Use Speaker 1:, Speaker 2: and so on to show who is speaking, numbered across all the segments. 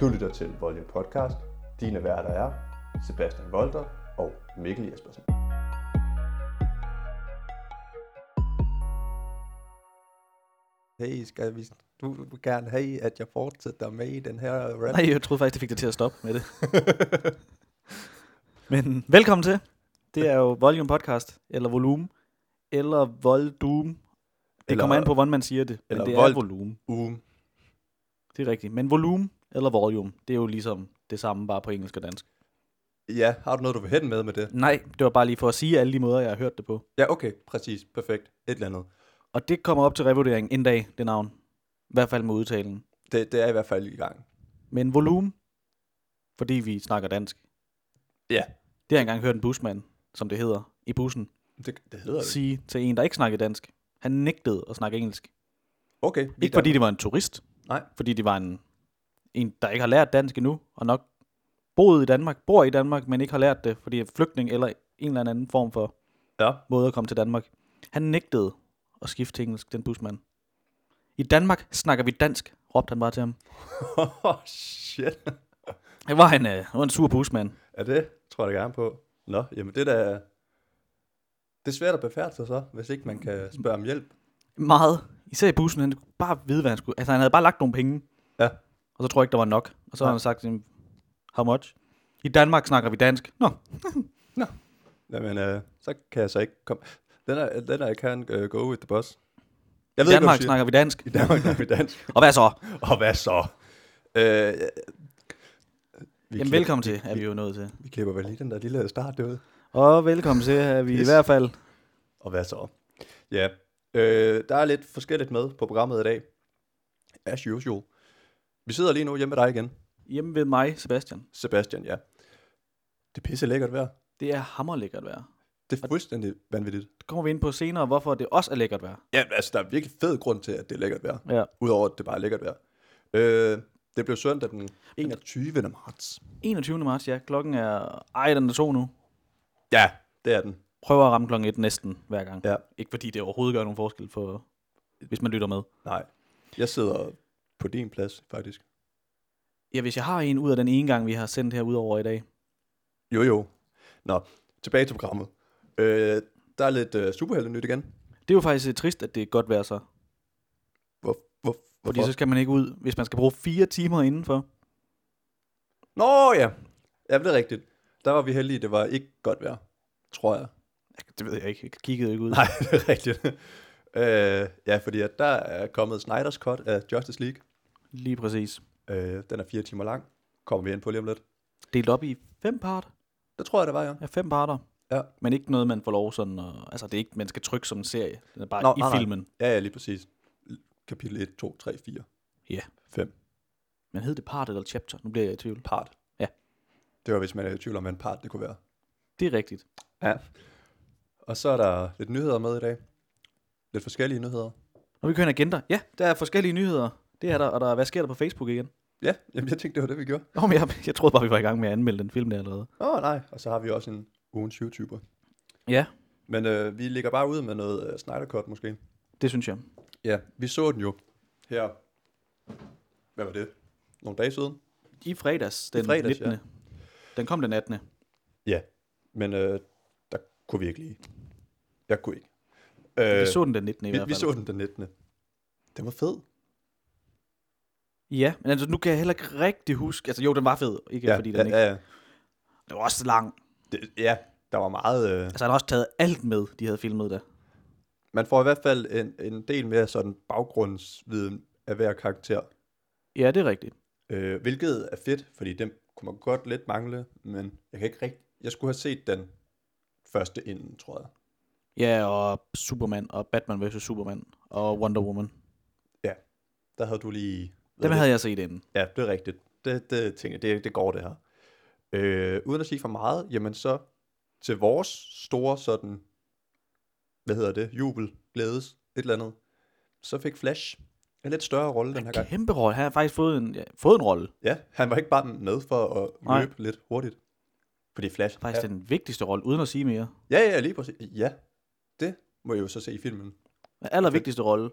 Speaker 1: Du lytter til Volume Podcast. Dine værter er Sebastian Volter og Mikkel Jespersen.
Speaker 2: Hey, skal vi, du vil gerne have, at jeg fortsætter med i den her rap?
Speaker 3: Nej, jeg troede faktisk, det fik dig til at stoppe med det. Men velkommen til. Det er jo Volume Podcast, eller Volume, eller Voldum. Det
Speaker 2: Eller-
Speaker 3: eller, kommer an på, hvordan man siger det.
Speaker 2: eller
Speaker 3: Men det
Speaker 2: Volt.
Speaker 3: er Volume.
Speaker 2: Um.
Speaker 3: Det er rigtigt. Men Volume eller Volume, det er jo ligesom det samme, bare på engelsk og dansk.
Speaker 2: Ja, har du noget, du vil hen med med det?
Speaker 3: Nej, det var bare lige for at sige alle de måder, jeg har hørt det på.
Speaker 2: Ja, okay, præcis, perfekt, et eller andet.
Speaker 3: Og det kommer op til revurdering en dag, det navn. I hvert fald med udtalen.
Speaker 2: Det, det er i hvert fald i gang.
Speaker 3: Men Volume, fordi vi snakker dansk.
Speaker 2: Ja.
Speaker 3: Det har jeg engang hørt en busmand, som det hedder, i bussen,
Speaker 2: Det, det hedder det.
Speaker 3: sige til en, der ikke snakkede dansk. Han nægtede at snakke engelsk.
Speaker 2: Okay. vi
Speaker 3: Ikke
Speaker 2: er
Speaker 3: fordi det var en turist.
Speaker 2: Nej.
Speaker 3: Fordi det var en, en, der ikke har lært dansk endnu, og nok boet i Danmark, bor i Danmark, men ikke har lært det, fordi er flygtning eller en eller anden form for
Speaker 2: der. Ja.
Speaker 3: måde at komme til Danmark. Han nægtede at skifte til engelsk, den busmand. I Danmark snakker vi dansk, råbte han bare til ham.
Speaker 2: oh, shit.
Speaker 3: Det var en, øh, det var en sur busmand.
Speaker 2: Er det? Tror jeg da gerne på. Nå, jamen det er da... Det er svært at befærde sig så, hvis ikke man kan spørge om hjælp.
Speaker 3: Meget. Især i bussen, han kunne bare vide, hvad han skulle. Altså, han havde bare lagt nogle penge.
Speaker 2: Ja.
Speaker 3: Og så tror jeg ikke, der var nok. Og så har
Speaker 2: Nej.
Speaker 3: han sagt, sådan, how much? I Danmark snakker vi dansk. Nå,
Speaker 2: Jamen, øh, så kan jeg så ikke komme... Den er, den er I can øh, go with the bus. Jeg
Speaker 3: i Danmark
Speaker 2: du siger.
Speaker 3: snakker vi dansk.
Speaker 2: I Danmark snakker vi dansk.
Speaker 3: Og hvad så?
Speaker 2: Og hvad så? Øh, ja, vi,
Speaker 3: Jamen
Speaker 2: klipper,
Speaker 3: velkommen til, er vi jo nået til.
Speaker 2: vi klipper vel lige den der lille start derude.
Speaker 3: Og velkommen til, er vi
Speaker 2: Yes.
Speaker 3: i hvert fald.
Speaker 2: Og hvad så? Ja, øh, der er lidt forskelligt med på programmet i dag. As usual. Vi sidder lige nu hjemme med dig igen,
Speaker 3: Hjemme ved mig, Sebastian.
Speaker 2: Sebastian, ja. Det er pisse lækkert vejr.
Speaker 3: Det er hammerlækkert vejr.
Speaker 2: Det er fuldstændig vanvittigt.
Speaker 3: Det kommer vi ind på senere, hvorfor det også er lækkert vejr.
Speaker 2: Ja, altså der er virkelig fed grund til, at det er lækkert vejr.
Speaker 3: Ja.
Speaker 2: Udover at det bare er lækkert vejr. Øh, det blev søndag den 21. marts.
Speaker 3: 21. marts, ja. Klokken er... Ej, den er to nu.
Speaker 2: Ja, det er den.
Speaker 3: Prøver at ramme klokken et næsten hver gang.
Speaker 2: Ja.
Speaker 3: Ikke fordi det overhovedet gør nogen forskel for... Hvis man lytter med.
Speaker 2: Nej. Jeg sidder på din plads, faktisk.
Speaker 3: Ja, hvis jeg har en ud af den ene gang, vi har sendt her ud over i dag.
Speaker 2: Jo, jo. Nå, tilbage til programmet. Øh, der er lidt øh, superheltenyt igen.
Speaker 3: Det er jo faktisk øh, trist, at det er godt vejr så.
Speaker 2: Hvor, hvor,
Speaker 3: Fordi
Speaker 2: hvorfor?
Speaker 3: så skal man ikke ud, hvis man skal bruge fire timer indenfor.
Speaker 2: Nå ja, ja, det er rigtigt. Der var vi heldige, det var ikke godt vejr, tror jeg.
Speaker 3: Det ved jeg ikke. Jeg kiggede ikke ud.
Speaker 2: Nej, det er rigtigt. øh, ja, fordi at der er kommet Snyder's Cut af Justice League.
Speaker 3: Lige præcis.
Speaker 2: Øh, den er fire timer lang. Kommer vi ind på lige om lidt.
Speaker 3: Delt op i fem parter.
Speaker 2: Det tror jeg, det var, ja.
Speaker 3: Ja, fem parter.
Speaker 2: Ja.
Speaker 3: Men ikke noget, man får lov sådan, og, altså det er ikke, man skal trykke som en serie. Den er bare
Speaker 2: Nå,
Speaker 3: Nå, i
Speaker 2: nej,
Speaker 3: nej,
Speaker 2: nej.
Speaker 3: filmen. Nej.
Speaker 2: Ja, ja, lige præcis. Kapitel 1, 2, 3, 4.
Speaker 3: Ja.
Speaker 2: 5.
Speaker 3: Men hed det part eller chapter? Nu bliver jeg i tvivl.
Speaker 2: Part.
Speaker 3: Ja.
Speaker 2: Det var, hvis man er i tvivl om, hvad en part det kunne være.
Speaker 3: Det er rigtigt.
Speaker 2: Ja. Og så er der lidt nyheder med i dag. Lidt forskellige nyheder.
Speaker 3: Og vi kører en agenda. Ja, der er forskellige nyheder. Det er der, og der er, hvad sker der på Facebook igen?
Speaker 2: Ja, jamen jeg tænkte, det var det, vi gjorde.
Speaker 3: Nå, men jeg, jeg troede bare, vi var i gang med at anmelde den film der allerede.
Speaker 2: Åh oh, nej, og så har vi også en ugens YouTuber.
Speaker 3: Ja,
Speaker 2: Men øh, vi ligger bare ud med noget øh, Snyder Cut måske.
Speaker 3: det synes jeg.
Speaker 2: Ja, vi så den jo her. Hvad var det? Nogle dage siden?
Speaker 3: I fredags, den I
Speaker 2: fredags,
Speaker 3: fredags, 19.
Speaker 2: ja.
Speaker 3: Ja. Den kom den 18.
Speaker 2: Ja, men øh, der kunne vi ikke lide. Jeg kunne ikke.
Speaker 3: Øh,
Speaker 2: Øh,
Speaker 3: vi så den den 19. i
Speaker 2: vi,
Speaker 3: hvert fald.
Speaker 2: vi så den den 19. Den var fed.
Speaker 3: Ja, men altså nu kan jeg heller ikke rigtig huske. Altså jo, den var fed. Ikke ja, fordi den
Speaker 2: ja,
Speaker 3: ja, ikke.
Speaker 2: ja, ja.
Speaker 3: Den var også lang.
Speaker 2: Det, ja, der var meget... Øh,
Speaker 3: Altså han har også taget alt med, de havde filmet der.
Speaker 2: man får i hvert fald en, en del mere sådan baggrundsviden af hver karakter,
Speaker 3: Ja, det er rigtigt.
Speaker 2: øh, hvilket er fedt, fordi dem kunne man godt lidt mangle, men jeg kan ikke rigtig... Jeg skulle have set den første inden, tror jeg.
Speaker 3: Ja, og Superman og Batman vs. Superman og Wonder Woman.
Speaker 2: Der havde du lige...
Speaker 3: Dem havde jeg set inden.
Speaker 2: Ja, det er rigtigt. Det, det tænker jeg, det, det går det her. Øh, uden at sige for meget, jamen så til vores store sådan, hvad hedder det, jubel, glædes, et eller andet, så fik Flash en lidt større rolle den her gang.
Speaker 3: Kæmpe rolle. Han har faktisk fået en, ja, fået en rolle.
Speaker 2: Ja, han var ikke bare med for at
Speaker 3: Nej.
Speaker 2: løbe lidt hurtigt. Fordi Flash...
Speaker 3: Faktisk
Speaker 2: ja,
Speaker 3: ja. den vigtigste rolle, uden at sige mere.
Speaker 2: ja, ja, lige præcis. Ja, det må jeg jo så se i filmen.
Speaker 3: Den allervigtigste rolle.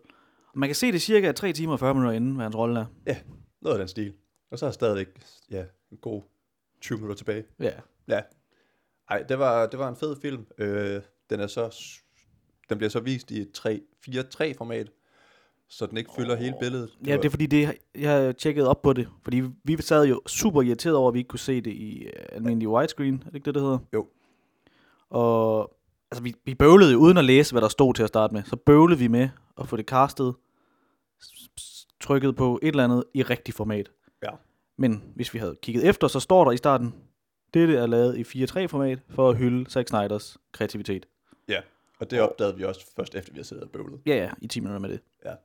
Speaker 3: Og Man kan se det cirka 3 timer og 40 minutter inden, hvad hans rolle er.
Speaker 2: Noget af den stil. Og så er jeg stadigvæk ja, en god 20 minutter tilbage.
Speaker 3: Ja.
Speaker 2: Ja. Ej, det var, det var en fed film. Øh, den, er så, s- den bliver så vist i et 4-3 format, så den ikke fylder oh. hele billedet.
Speaker 3: Ja,
Speaker 2: var-
Speaker 3: det er fordi, det, jeg tjekkede op på det. Fordi vi sad jo super irriteret over, at vi ikke kunne se det i øh, almindelig widescreen. Er det ikke det, det hedder?
Speaker 2: Jo.
Speaker 3: Og altså, vi, vi bøvlede jo uden at læse, hvad der stod til at starte med. Så bøvlede vi med at få det castet, s- s- trykket på et eller andet i rigtig format.
Speaker 2: Ja.
Speaker 3: Men hvis vi havde kigget efter, så står der i starten, dette er lavet i 4-3-format for at hylde Zack Snyders kreativitet.
Speaker 2: ja, og det opdagede vi også først efter, vi havde siddet og bøvlet.
Speaker 3: Ja, ja, i 10 minutter med det.
Speaker 2: Ja. Ah.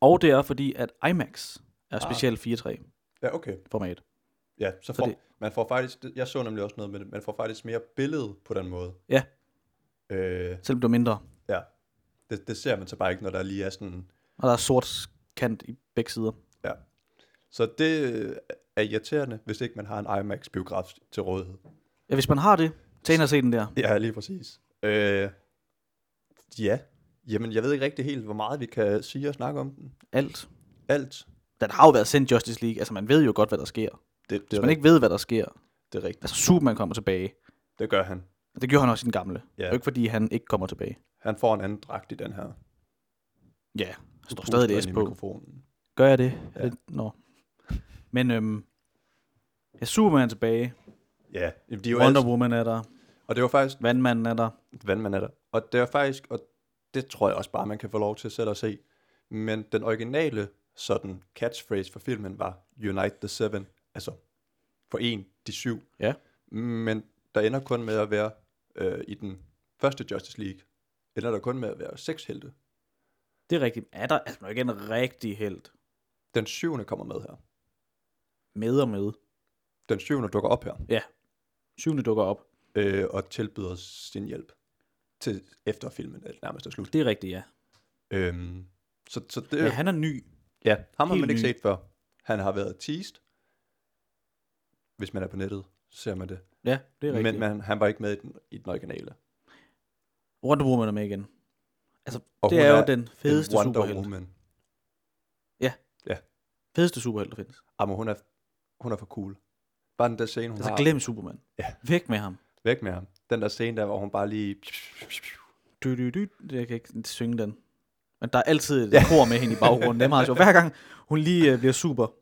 Speaker 3: Og det er fordi, at IMAX er specielt 4-3-format.
Speaker 2: Ja, okay. Ja, så får,
Speaker 3: det-
Speaker 2: man får faktisk, det- jeg så nemlig også noget med det, man får faktisk mere billede på den måde.
Speaker 3: Ja.
Speaker 2: Øh,
Speaker 3: Selvom det er mindre.
Speaker 2: ja. Det, det ser man så bare ikke, når der lige er sådan...
Speaker 3: Og der er sort kant i begge sider.
Speaker 2: Ja. Så det øh, er irriterende, hvis ikke man har en IMAX-biograf til rådighed.
Speaker 3: Ja, hvis man har det, tag ind og se den der.
Speaker 2: Ja, lige præcis. Øh, ja. Jamen, jeg ved ikke rigtig helt, hvor meget vi kan sige og snakke om den.
Speaker 3: Alt.
Speaker 2: Alt.
Speaker 3: Den har jo været sendt Justice League. Altså, man ved jo godt, hvad der sker.
Speaker 2: Det, det,
Speaker 3: Hvis
Speaker 2: er,
Speaker 3: man
Speaker 2: ikke...
Speaker 3: ikke ved, hvad der sker.
Speaker 2: det er rigtigt.
Speaker 3: Altså, Superman kommer tilbage.
Speaker 2: Det gør han.
Speaker 3: Og det gjorde han også i den gamle.
Speaker 2: Ja.
Speaker 3: Det er jo ikke, fordi han ikke kommer tilbage.
Speaker 2: Han får en anden dragt i den her.
Speaker 3: Ja, der står stadig
Speaker 2: Puster
Speaker 3: det S
Speaker 2: ind i
Speaker 3: på.
Speaker 2: Mikrofonen.
Speaker 3: Gør jeg det?
Speaker 2: Ja.
Speaker 3: Ja. det? Nå. Men øhm, ja, Superman er tilbage.
Speaker 2: Ja, jamen, de er jo
Speaker 3: Wonder
Speaker 2: Wonder...
Speaker 3: Woman er der.
Speaker 2: Og det var faktisk
Speaker 3: Vandmanden er der.
Speaker 2: vandmand er der. Og det er faktisk, og det tror jeg også bare, man kan få lov til selv at se, men den originale sådan catchphrase for filmen var Unite the Seven, altså for en, de syv.
Speaker 3: Ja.
Speaker 2: Men der ender kun med at være øh, i den første Justice League, ender der kun med at være seks helte.
Speaker 3: Det er rigtigt. Er der altså man er jo ikke en rigtig held
Speaker 2: Den syvende kommer med her.
Speaker 3: med og med.
Speaker 2: Den syvende dukker op her
Speaker 3: Syvende dukker op.
Speaker 2: øh, og tilbyder sin hjælp til efter filmen er nærmest er slut.
Speaker 3: Det er rigtigt, ja.
Speaker 2: Øhm, så, så det,
Speaker 3: Ja, han er ny.
Speaker 2: Ja, ham har
Speaker 3: Helt
Speaker 2: man ikke
Speaker 3: ny.
Speaker 2: set før. Han har været teased. Hvis man er på nettet, ser man det.
Speaker 3: Ja, det er rigtigt.
Speaker 2: Men man, han var ikke med i den, i den originale.
Speaker 3: Wonder Woman er med igen. Altså,
Speaker 2: Og
Speaker 3: og det
Speaker 2: hun
Speaker 3: er,
Speaker 2: er
Speaker 3: jo den fedeste
Speaker 2: En Wonder
Speaker 3: superhelt.
Speaker 2: Woman.
Speaker 3: Fedeste superhelt, der findes.
Speaker 2: Jamen, Ah, hun er, hun er for cool. Bare den der scene, hun
Speaker 3: Altså,
Speaker 2: har.
Speaker 3: glem Superman.
Speaker 2: Ja.
Speaker 3: Væk med ham.
Speaker 2: Væk med ham. Den der scene der, hvor hun bare lige...
Speaker 3: Du, du, du. Jeg kan ikke synge den. Men der er altid et kor med hende i baggrunden. Det er meget sjovt. Hver gang hun lige øh, bliver super,
Speaker 2: Ja.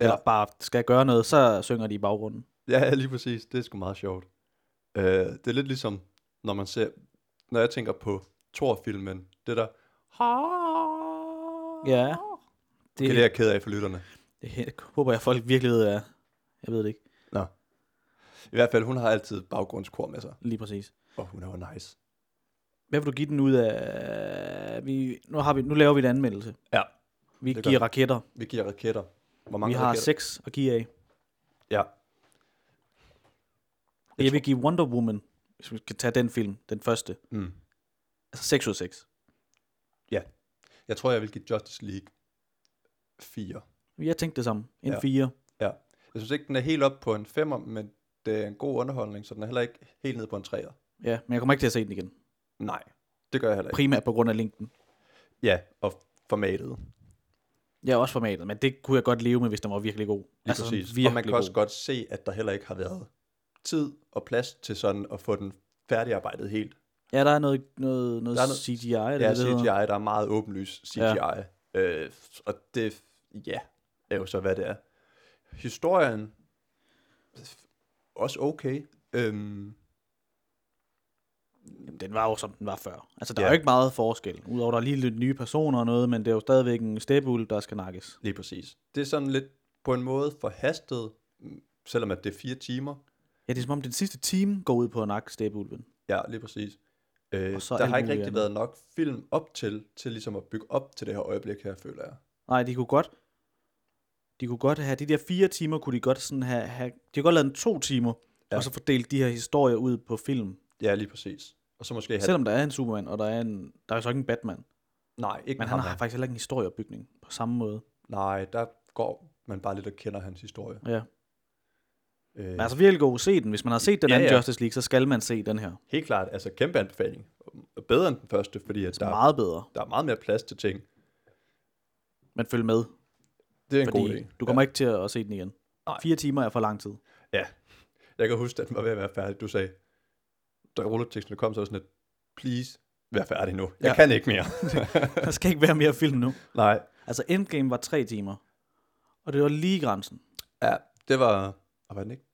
Speaker 3: ja. eller bare skal gøre noget, så synger de i baggrunden.
Speaker 2: Ja, lige præcis. Det er sgu meget sjovt. Øh, det er lidt ligesom, når man ser... Når jeg tænker på Thor-filmen. Det der...
Speaker 3: Ja.
Speaker 2: Det
Speaker 3: Det,
Speaker 2: er det, jeg er ked af for lytterne.
Speaker 3: det, jeg håber jeg, folk virkelig ved, er. Jeg ved det ikke
Speaker 2: I hvert fald, hun har altid baggrundskor med sig.
Speaker 3: lige præcis.
Speaker 2: Og hun er jo nice.
Speaker 3: Hvad vil du give den ud af... Vi, nu, har vi, nu laver vi en anmeldelse.
Speaker 2: Ja.
Speaker 3: Vi
Speaker 2: Det
Speaker 3: det
Speaker 2: gør
Speaker 3: giver
Speaker 2: vi.
Speaker 3: raketter.
Speaker 2: Vi giver raketter. Hvor mange
Speaker 3: Vi har
Speaker 2: raketter?
Speaker 3: seks at give af.
Speaker 2: Ja.
Speaker 3: Jeg, jeg vil give Wonder Woman, hvis vi skal tage den film, den første.
Speaker 2: Mm.
Speaker 3: Altså 6 ud af 6.
Speaker 2: Jeg tror, jeg vil give Justice League 4.
Speaker 3: Jeg tænkte det samme. En
Speaker 2: Ja.
Speaker 3: ja. 4.
Speaker 2: Ja. Jeg synes ikke, den er helt op på en 5'er, men det er en god underholdning, så den er heller ikke helt ned på en 3'er.
Speaker 3: Ja, men jeg kommer ikke til at se den igen.
Speaker 2: Nej, det gør jeg heller ikke.
Speaker 3: Primært på grund af linken.
Speaker 2: Ja, og formatet.
Speaker 3: Jeg er også formatet, men det kunne jeg godt leve med, hvis den var virkelig god.
Speaker 2: Lige altså,
Speaker 3: sådan
Speaker 2: præcis. Og man kan også
Speaker 3: god.
Speaker 2: godt se, at der heller ikke har været tid og plads til sådan at få den færdigarbejdet helt.
Speaker 3: Ja, der er noget, noget, noget
Speaker 2: Der er
Speaker 3: er
Speaker 2: noget-
Speaker 3: noget, CGI. Eller
Speaker 2: Ja,
Speaker 3: det, hedder.
Speaker 2: CGI, der er meget åbenlys CGI. Ja. Øh, og det, ja, er jo så, hvad det er. Historien, også okay. Øhm,
Speaker 3: Jamen, Den var jo, som den var før. Altså, der ja. er
Speaker 2: Ja.
Speaker 3: jo ikke meget forskel. Udover, der er lige lidt nye personer og noget, men det er jo stadigvæk en steppeulv, der skal nakkes.
Speaker 2: lige præcis. Det er sådan lidt på en måde forhastet, mm, selvom at det er fire timer.
Speaker 3: Ja, det er som om den sidste time går ud på at nakke steppeulven.
Speaker 2: Ja, lige præcis. Øh,
Speaker 3: Og så
Speaker 2: der
Speaker 3: alt
Speaker 2: har ikke
Speaker 3: muligt
Speaker 2: rigtig
Speaker 3: andet.
Speaker 2: været nok film op til, til ligesom at bygge op til det her øjeblik her, føler jeg.
Speaker 3: Nej, de kunne godt... De kunne godt have... De der fire timer kunne de godt sådan have... have de kunne godt lave den to timer,
Speaker 2: Ja.
Speaker 3: ja. og så fordelt de her historier ud på film.
Speaker 2: Ja, lige præcis. Og så måske... have-
Speaker 3: Selvom der er en Superman, og der er en... Der er jo så ikke en Batman.
Speaker 2: nej, ikke
Speaker 3: Men han har faktisk heller ikke en historieopbygning på samme måde.
Speaker 2: Nej, der går man bare lidt og kender hans historie.
Speaker 3: Ja.
Speaker 2: Øh,
Speaker 3: Men altså virkelig god at se den. Hvis man har set den
Speaker 2: Ja,
Speaker 3: ja, anden
Speaker 2: ja.
Speaker 3: ja. Justice League, så skal man se den her.
Speaker 2: Helt klart, altså kæmpe anbefaling. Bedre end den første, fordi at
Speaker 3: Der.
Speaker 2: der,
Speaker 3: Meget bedre.
Speaker 2: der er meget mere plads til ting.
Speaker 3: Men følg med.
Speaker 2: Det er en god
Speaker 3: Fordi
Speaker 2: idé.
Speaker 3: du kommer ikke til at se den igen.
Speaker 2: Nej.
Speaker 3: Fire timer er for lang tid.
Speaker 2: Ja. Jeg kan huske, at den var ved at være færdig. Du sagde, da rulleteksten kom, så var jeg sådan lidt, please, vær færdig nu. Jeg
Speaker 3: Ja.
Speaker 2: kan ikke mere.
Speaker 3: Der skal ikke være mere film nu.
Speaker 2: Nej.
Speaker 3: Altså Endgame var tre timer. Og det var lige grænsen.
Speaker 2: Ja, det var... Og var den ikke?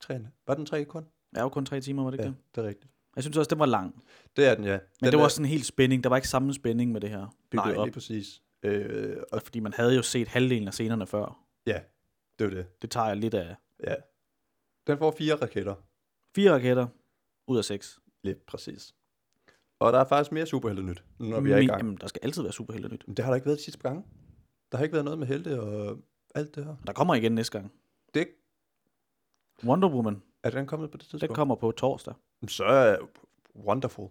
Speaker 2: Tre, var den tre kun?
Speaker 3: Det er jo kun tre timer, var det ikke
Speaker 2: Ja,
Speaker 3: det?
Speaker 2: det er rigtigt.
Speaker 3: Jeg synes også, den var lang. Men
Speaker 2: Det er den, ja. Men den
Speaker 3: det var
Speaker 2: er-
Speaker 3: også sådan en helt spænding. Der var ikke samme spænding med det her bygget
Speaker 2: Nej,
Speaker 3: op.
Speaker 2: lige præcis. Øh, og
Speaker 3: Og fordi man havde jo set halvdelen af scenerne før.
Speaker 2: ja, det var det.
Speaker 3: Det tager jeg lidt af.
Speaker 2: Ja. Den får fire raketter.
Speaker 3: Fire raketter ud af seks.
Speaker 2: Lige præcis. Og der er faktisk mere superhelte nyt, når vi er i
Speaker 3: Men-
Speaker 2: gang.
Speaker 3: Jamen, der skal altid være superhelte nyt.
Speaker 2: Men det har der ikke været de sidste par gange. Der har ikke været noget med helte og alt det her.
Speaker 3: Og der kommer igen næste gang.
Speaker 2: Det,
Speaker 3: Wonder Woman,
Speaker 2: er den kommet på det tidspunkt?
Speaker 3: den kommer på torsdag.
Speaker 2: Så er wonderful.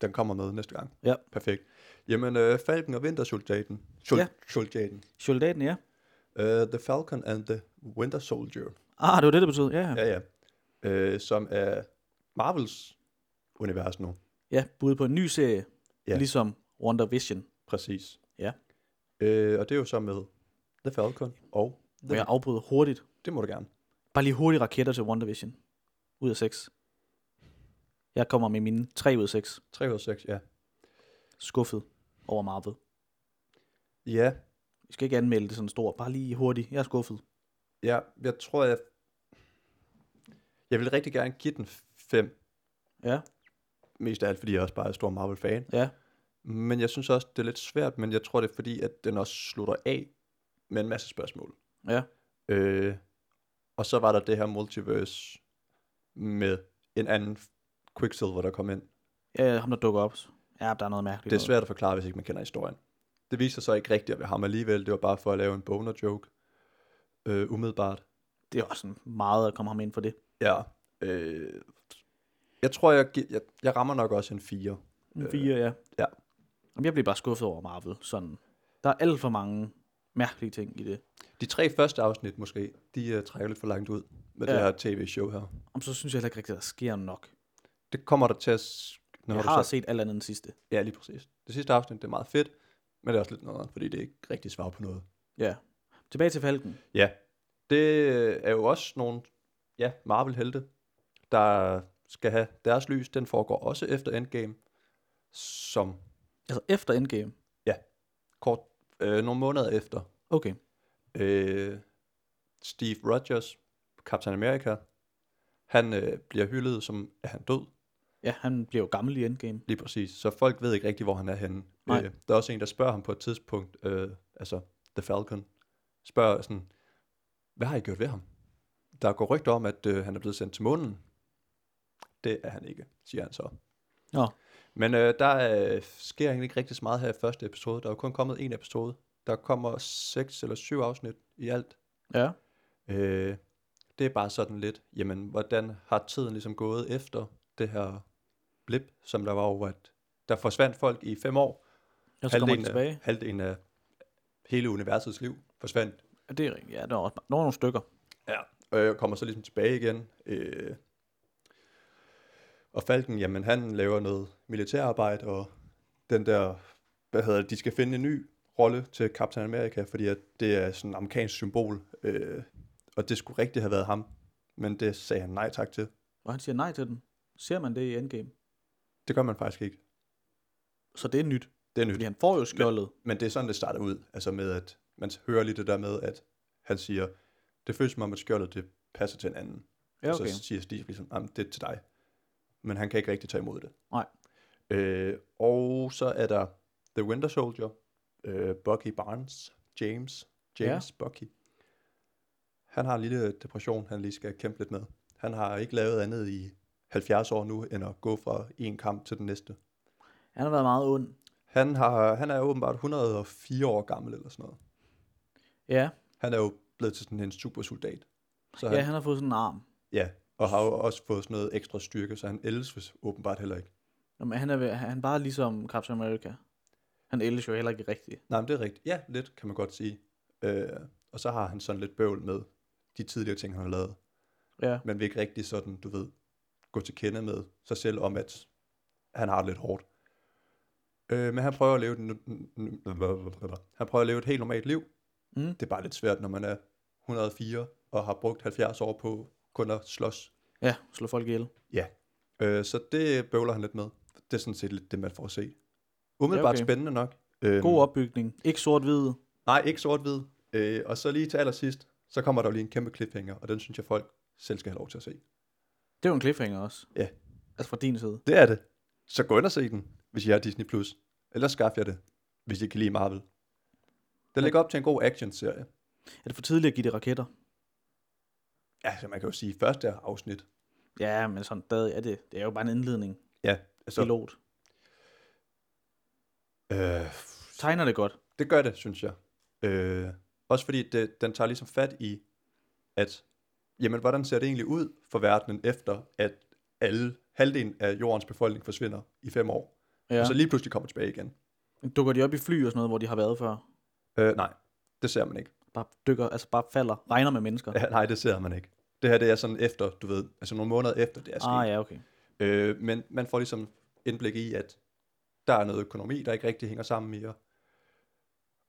Speaker 2: Den kommer med næste gang.
Speaker 3: Ja.
Speaker 2: Perfekt. Jamen, øh, Falken og Vintersoldaten. Sol-
Speaker 3: Ja.
Speaker 2: ja. Soldaten.
Speaker 3: Soldaten, ja.
Speaker 2: Uh, the Falcon and the Winter Soldier.
Speaker 3: Ah, det var det, det betød. Ja, ja.
Speaker 2: Ja, ja. Øh, som er Marvels univers nu.
Speaker 3: Ja, bud på en ny serie. Ja.
Speaker 2: Ja.
Speaker 3: Ligesom Wonder Vision.
Speaker 2: Præcis.
Speaker 3: Ja.
Speaker 2: Øh, og det er jo så med The Falcon og...
Speaker 3: Hvor jeg afbryder hurtigt.
Speaker 2: Det må du gerne.
Speaker 3: Bare lige hurtigt raketter til Wonder Vision. Ud af seks. Jeg kommer med mine 3 ud af 6.
Speaker 2: 3 ud af 6, ja.
Speaker 3: Skuffet over Marvel.
Speaker 2: Ja,
Speaker 3: Vi skal ikke anmelde det sådan stort. Bare lige hurtigt. Jeg er skuffet.
Speaker 2: ja, jeg tror, jeg... Jeg vil rigtig gerne give den 5.
Speaker 3: Ja,
Speaker 2: Mest af alt, fordi jeg også bare er stor Marvel-fan.
Speaker 3: ja.
Speaker 2: Men jeg synes også, det er lidt svært, men jeg tror, det er fordi, at den også slutter af med en masse spørgsmål.
Speaker 3: Ja.
Speaker 2: Øh, og så var der det her multiverse med en anden Quicksilver, der kom ind.
Speaker 3: Ja, ham der dukker op. Ja, der er noget mærkeligt.
Speaker 2: Det er svært at forklare, hvis ikke man kender historien. Det viser sig ikke rigtigt at være ham alligevel. Det var bare for at lave en boner-joke. Øh, umiddelbart.
Speaker 3: noget. Det er også sådan meget at komme ham ind for det.
Speaker 2: Ja. Øh, jeg tror, jeg, gi- jeg, jeg rammer nok også en 4.
Speaker 3: En
Speaker 2: Øh,
Speaker 3: fire, ja.
Speaker 2: ja.
Speaker 3: Jamen, jeg bliver bare skuffet over Marvel. Sådan. Der er alt for mange mærkelige ting i det.
Speaker 2: De tre første afsnit måske, de uh, trækker lidt for langt ud med ja.
Speaker 3: Ja.
Speaker 2: det her tv-show her.
Speaker 3: Om så synes jeg heller ikke rigtigt, at der sker nok.
Speaker 2: Det kommer der til at... s- Når
Speaker 3: jeg
Speaker 2: du
Speaker 3: har
Speaker 2: så,
Speaker 3: set alt andet end sidste.
Speaker 2: ja, lige præcis. Det sidste afsnit, det er meget fedt, men det er også lidt noget, andet, fordi det er ikke rigtig svar på noget.
Speaker 3: Ja. Tilbage til Falken.
Speaker 2: Ja, det øh, er jo også nogle ja, Marvel-helte, der skal have deres lys. Den foregår også efter Endgame, som
Speaker 3: Altså efter Endgame.
Speaker 2: kort øh, nogle måneder efter.
Speaker 3: Okay.
Speaker 2: Øh, Steve Rogers, Captain America, han øh, bliver hyldet som, at han død,
Speaker 3: Ja, han bliver jo gammel i Endgame.
Speaker 2: lige præcis. Så folk ved ikke rigtig, hvor han er henne.
Speaker 3: Nej.
Speaker 2: Øh, der er også en, der spørger ham på et tidspunkt, øh, altså The Falcon, spørger sådan, hvad har I gjort ved ham? Der går rygter om, at øh, han er blevet sendt til månen. Det er han ikke, siger han så.
Speaker 3: Nå.
Speaker 2: Men øh, der øh, sker egentlig ikke rigtig så meget her i første episode. Der er jo kun kommet en episode. Der kommer seks eller syv afsnit i alt.
Speaker 3: Ja.
Speaker 2: Øh, det er bare sådan lidt, jamen, hvordan har tiden ligesom gået efter det her blip, som der var over, at der forsvandt folk i fem år.
Speaker 3: Og så kommer de
Speaker 2: af,
Speaker 3: tilbage.
Speaker 2: halvdelen af hele universets liv forsvandt.
Speaker 3: Ja, det er rigtigt. Ja, der er, også, der er nogle stykker.
Speaker 2: Ja. Og jeg kommer så ligesom tilbage igen. Øh, og Falken, jamen, han laver noget militærarbejde, og den der, hvad hedder det, de skal finde en ny rolle til Captain America, fordi at det er sådan et amerikansk symbol, øh, og det skulle rigtig have været ham, men det sagde han nej tak til.
Speaker 3: Og han siger nej til den. Ser man det i Endgame?
Speaker 2: Det gør man faktisk ikke.
Speaker 3: Så det er nyt.
Speaker 2: Det er nyt.
Speaker 3: Fordi han får jo skjoldet.
Speaker 2: Men det er sådan, det starter ud, altså med, at man hører lige det der med, at han siger, det føles som om, at skjoldet, det passer til en anden.
Speaker 3: Ja,
Speaker 2: Og
Speaker 3: okay.
Speaker 2: så siger Steve ligesom, jamen, det er til dig. Men han kan ikke rigtig tage imod det.
Speaker 3: Nej.
Speaker 2: Øh, og så er der The Winter Soldier, øh, Bucky Barnes, James, James ja. Bucky. Han har en lille depression, han lige skal kæmpe lidt med. Han har ikke lavet andet i 70 år nu, end at gå fra en kamp til den næste.
Speaker 3: Han har været meget ond.
Speaker 2: Han, har, han er åbenbart 104 år gammel eller sådan noget.
Speaker 3: Ja.
Speaker 2: Han er jo blevet til sådan en supersoldat. Så
Speaker 3: ja, han har fået sådan en arm.
Speaker 2: ja, og har jo også fået sådan noget ekstra styrke, så han eldes åbenbart heller ikke.
Speaker 3: Nå, men han er, ved- han er bare ligesom Captain America. Han ældes jo heller ikke rigtigt.
Speaker 2: Nej, men det er rigtigt. Ja, lidt, kan man godt sige. Øh, og så har han sådan lidt bøvl med de tidligere ting, han har lavet.
Speaker 3: Ja.
Speaker 2: Men vil ikke rigtig sådan, du ved, gå til kende med sig selv om, at han har det lidt hårdt. Øh, men han prøver at leve et, nu- nu- nu- han prøver at leve et helt normalt liv,
Speaker 3: Mm.
Speaker 2: Det er bare lidt svært, når man er 104 og har brugt 70 år på kun at slås.
Speaker 3: Ja, slå folk ihjel.
Speaker 2: Ja. Øh, så det bøvler han lidt med. Det er sådan set lidt det, man får at se. Umiddelbart
Speaker 3: Ja,
Speaker 2: ja,
Speaker 3: okay.
Speaker 2: okay. spændende nok. Øhm,
Speaker 3: God opbygning. Ikke sort-hvid.
Speaker 2: Nej, ikke sort-hvid. Øh, og så lige til allersidst, så kommer der jo lige en kæmpe cliffhanger, og den synes jeg, folk selv skal have lov til at se.
Speaker 3: Det er jo en cliffhanger også.
Speaker 2: Ja.
Speaker 3: Altså fra din side.
Speaker 2: Det er det. Så gå ind og se den, hvis I har Disney+. Plus. Ellers skaf jer det, hvis I kan lide Marvel. Den lægger op til en god action-serie.
Speaker 3: Er det for tidligt at give det raketter?
Speaker 2: Ja, så man kan jo sige første afsnit.
Speaker 3: Ja, men sådan der er det. Det er jo bare en indledning.
Speaker 2: Ja, altså,
Speaker 3: Pilot.
Speaker 2: øh,
Speaker 3: Tegner det godt.
Speaker 2: det gør det, synes jeg. Øh, også fordi det, den tager ligesom fat i, at jamen, hvordan ser det egentlig ud for verdenen efter, at alle, halvdelen af jordens befolkning forsvinder i fem år, ja.
Speaker 3: Ja.
Speaker 2: og så lige pludselig kommer tilbage igen.
Speaker 3: Dukker de op i fly og sådan noget, hvor de har været før?
Speaker 2: Øh, nej, det ser man ikke.
Speaker 3: Bare dykker, altså bare falder, regner med mennesker.
Speaker 2: Ja, nej, det ser man ikke. Det her det er sådan efter, du ved, altså nogle måneder efter det er sket.
Speaker 3: ah, ja, okay.
Speaker 2: Øh, men man får ligesom indblik i, at der er noget økonomi, der ikke rigtig hænger sammen mere.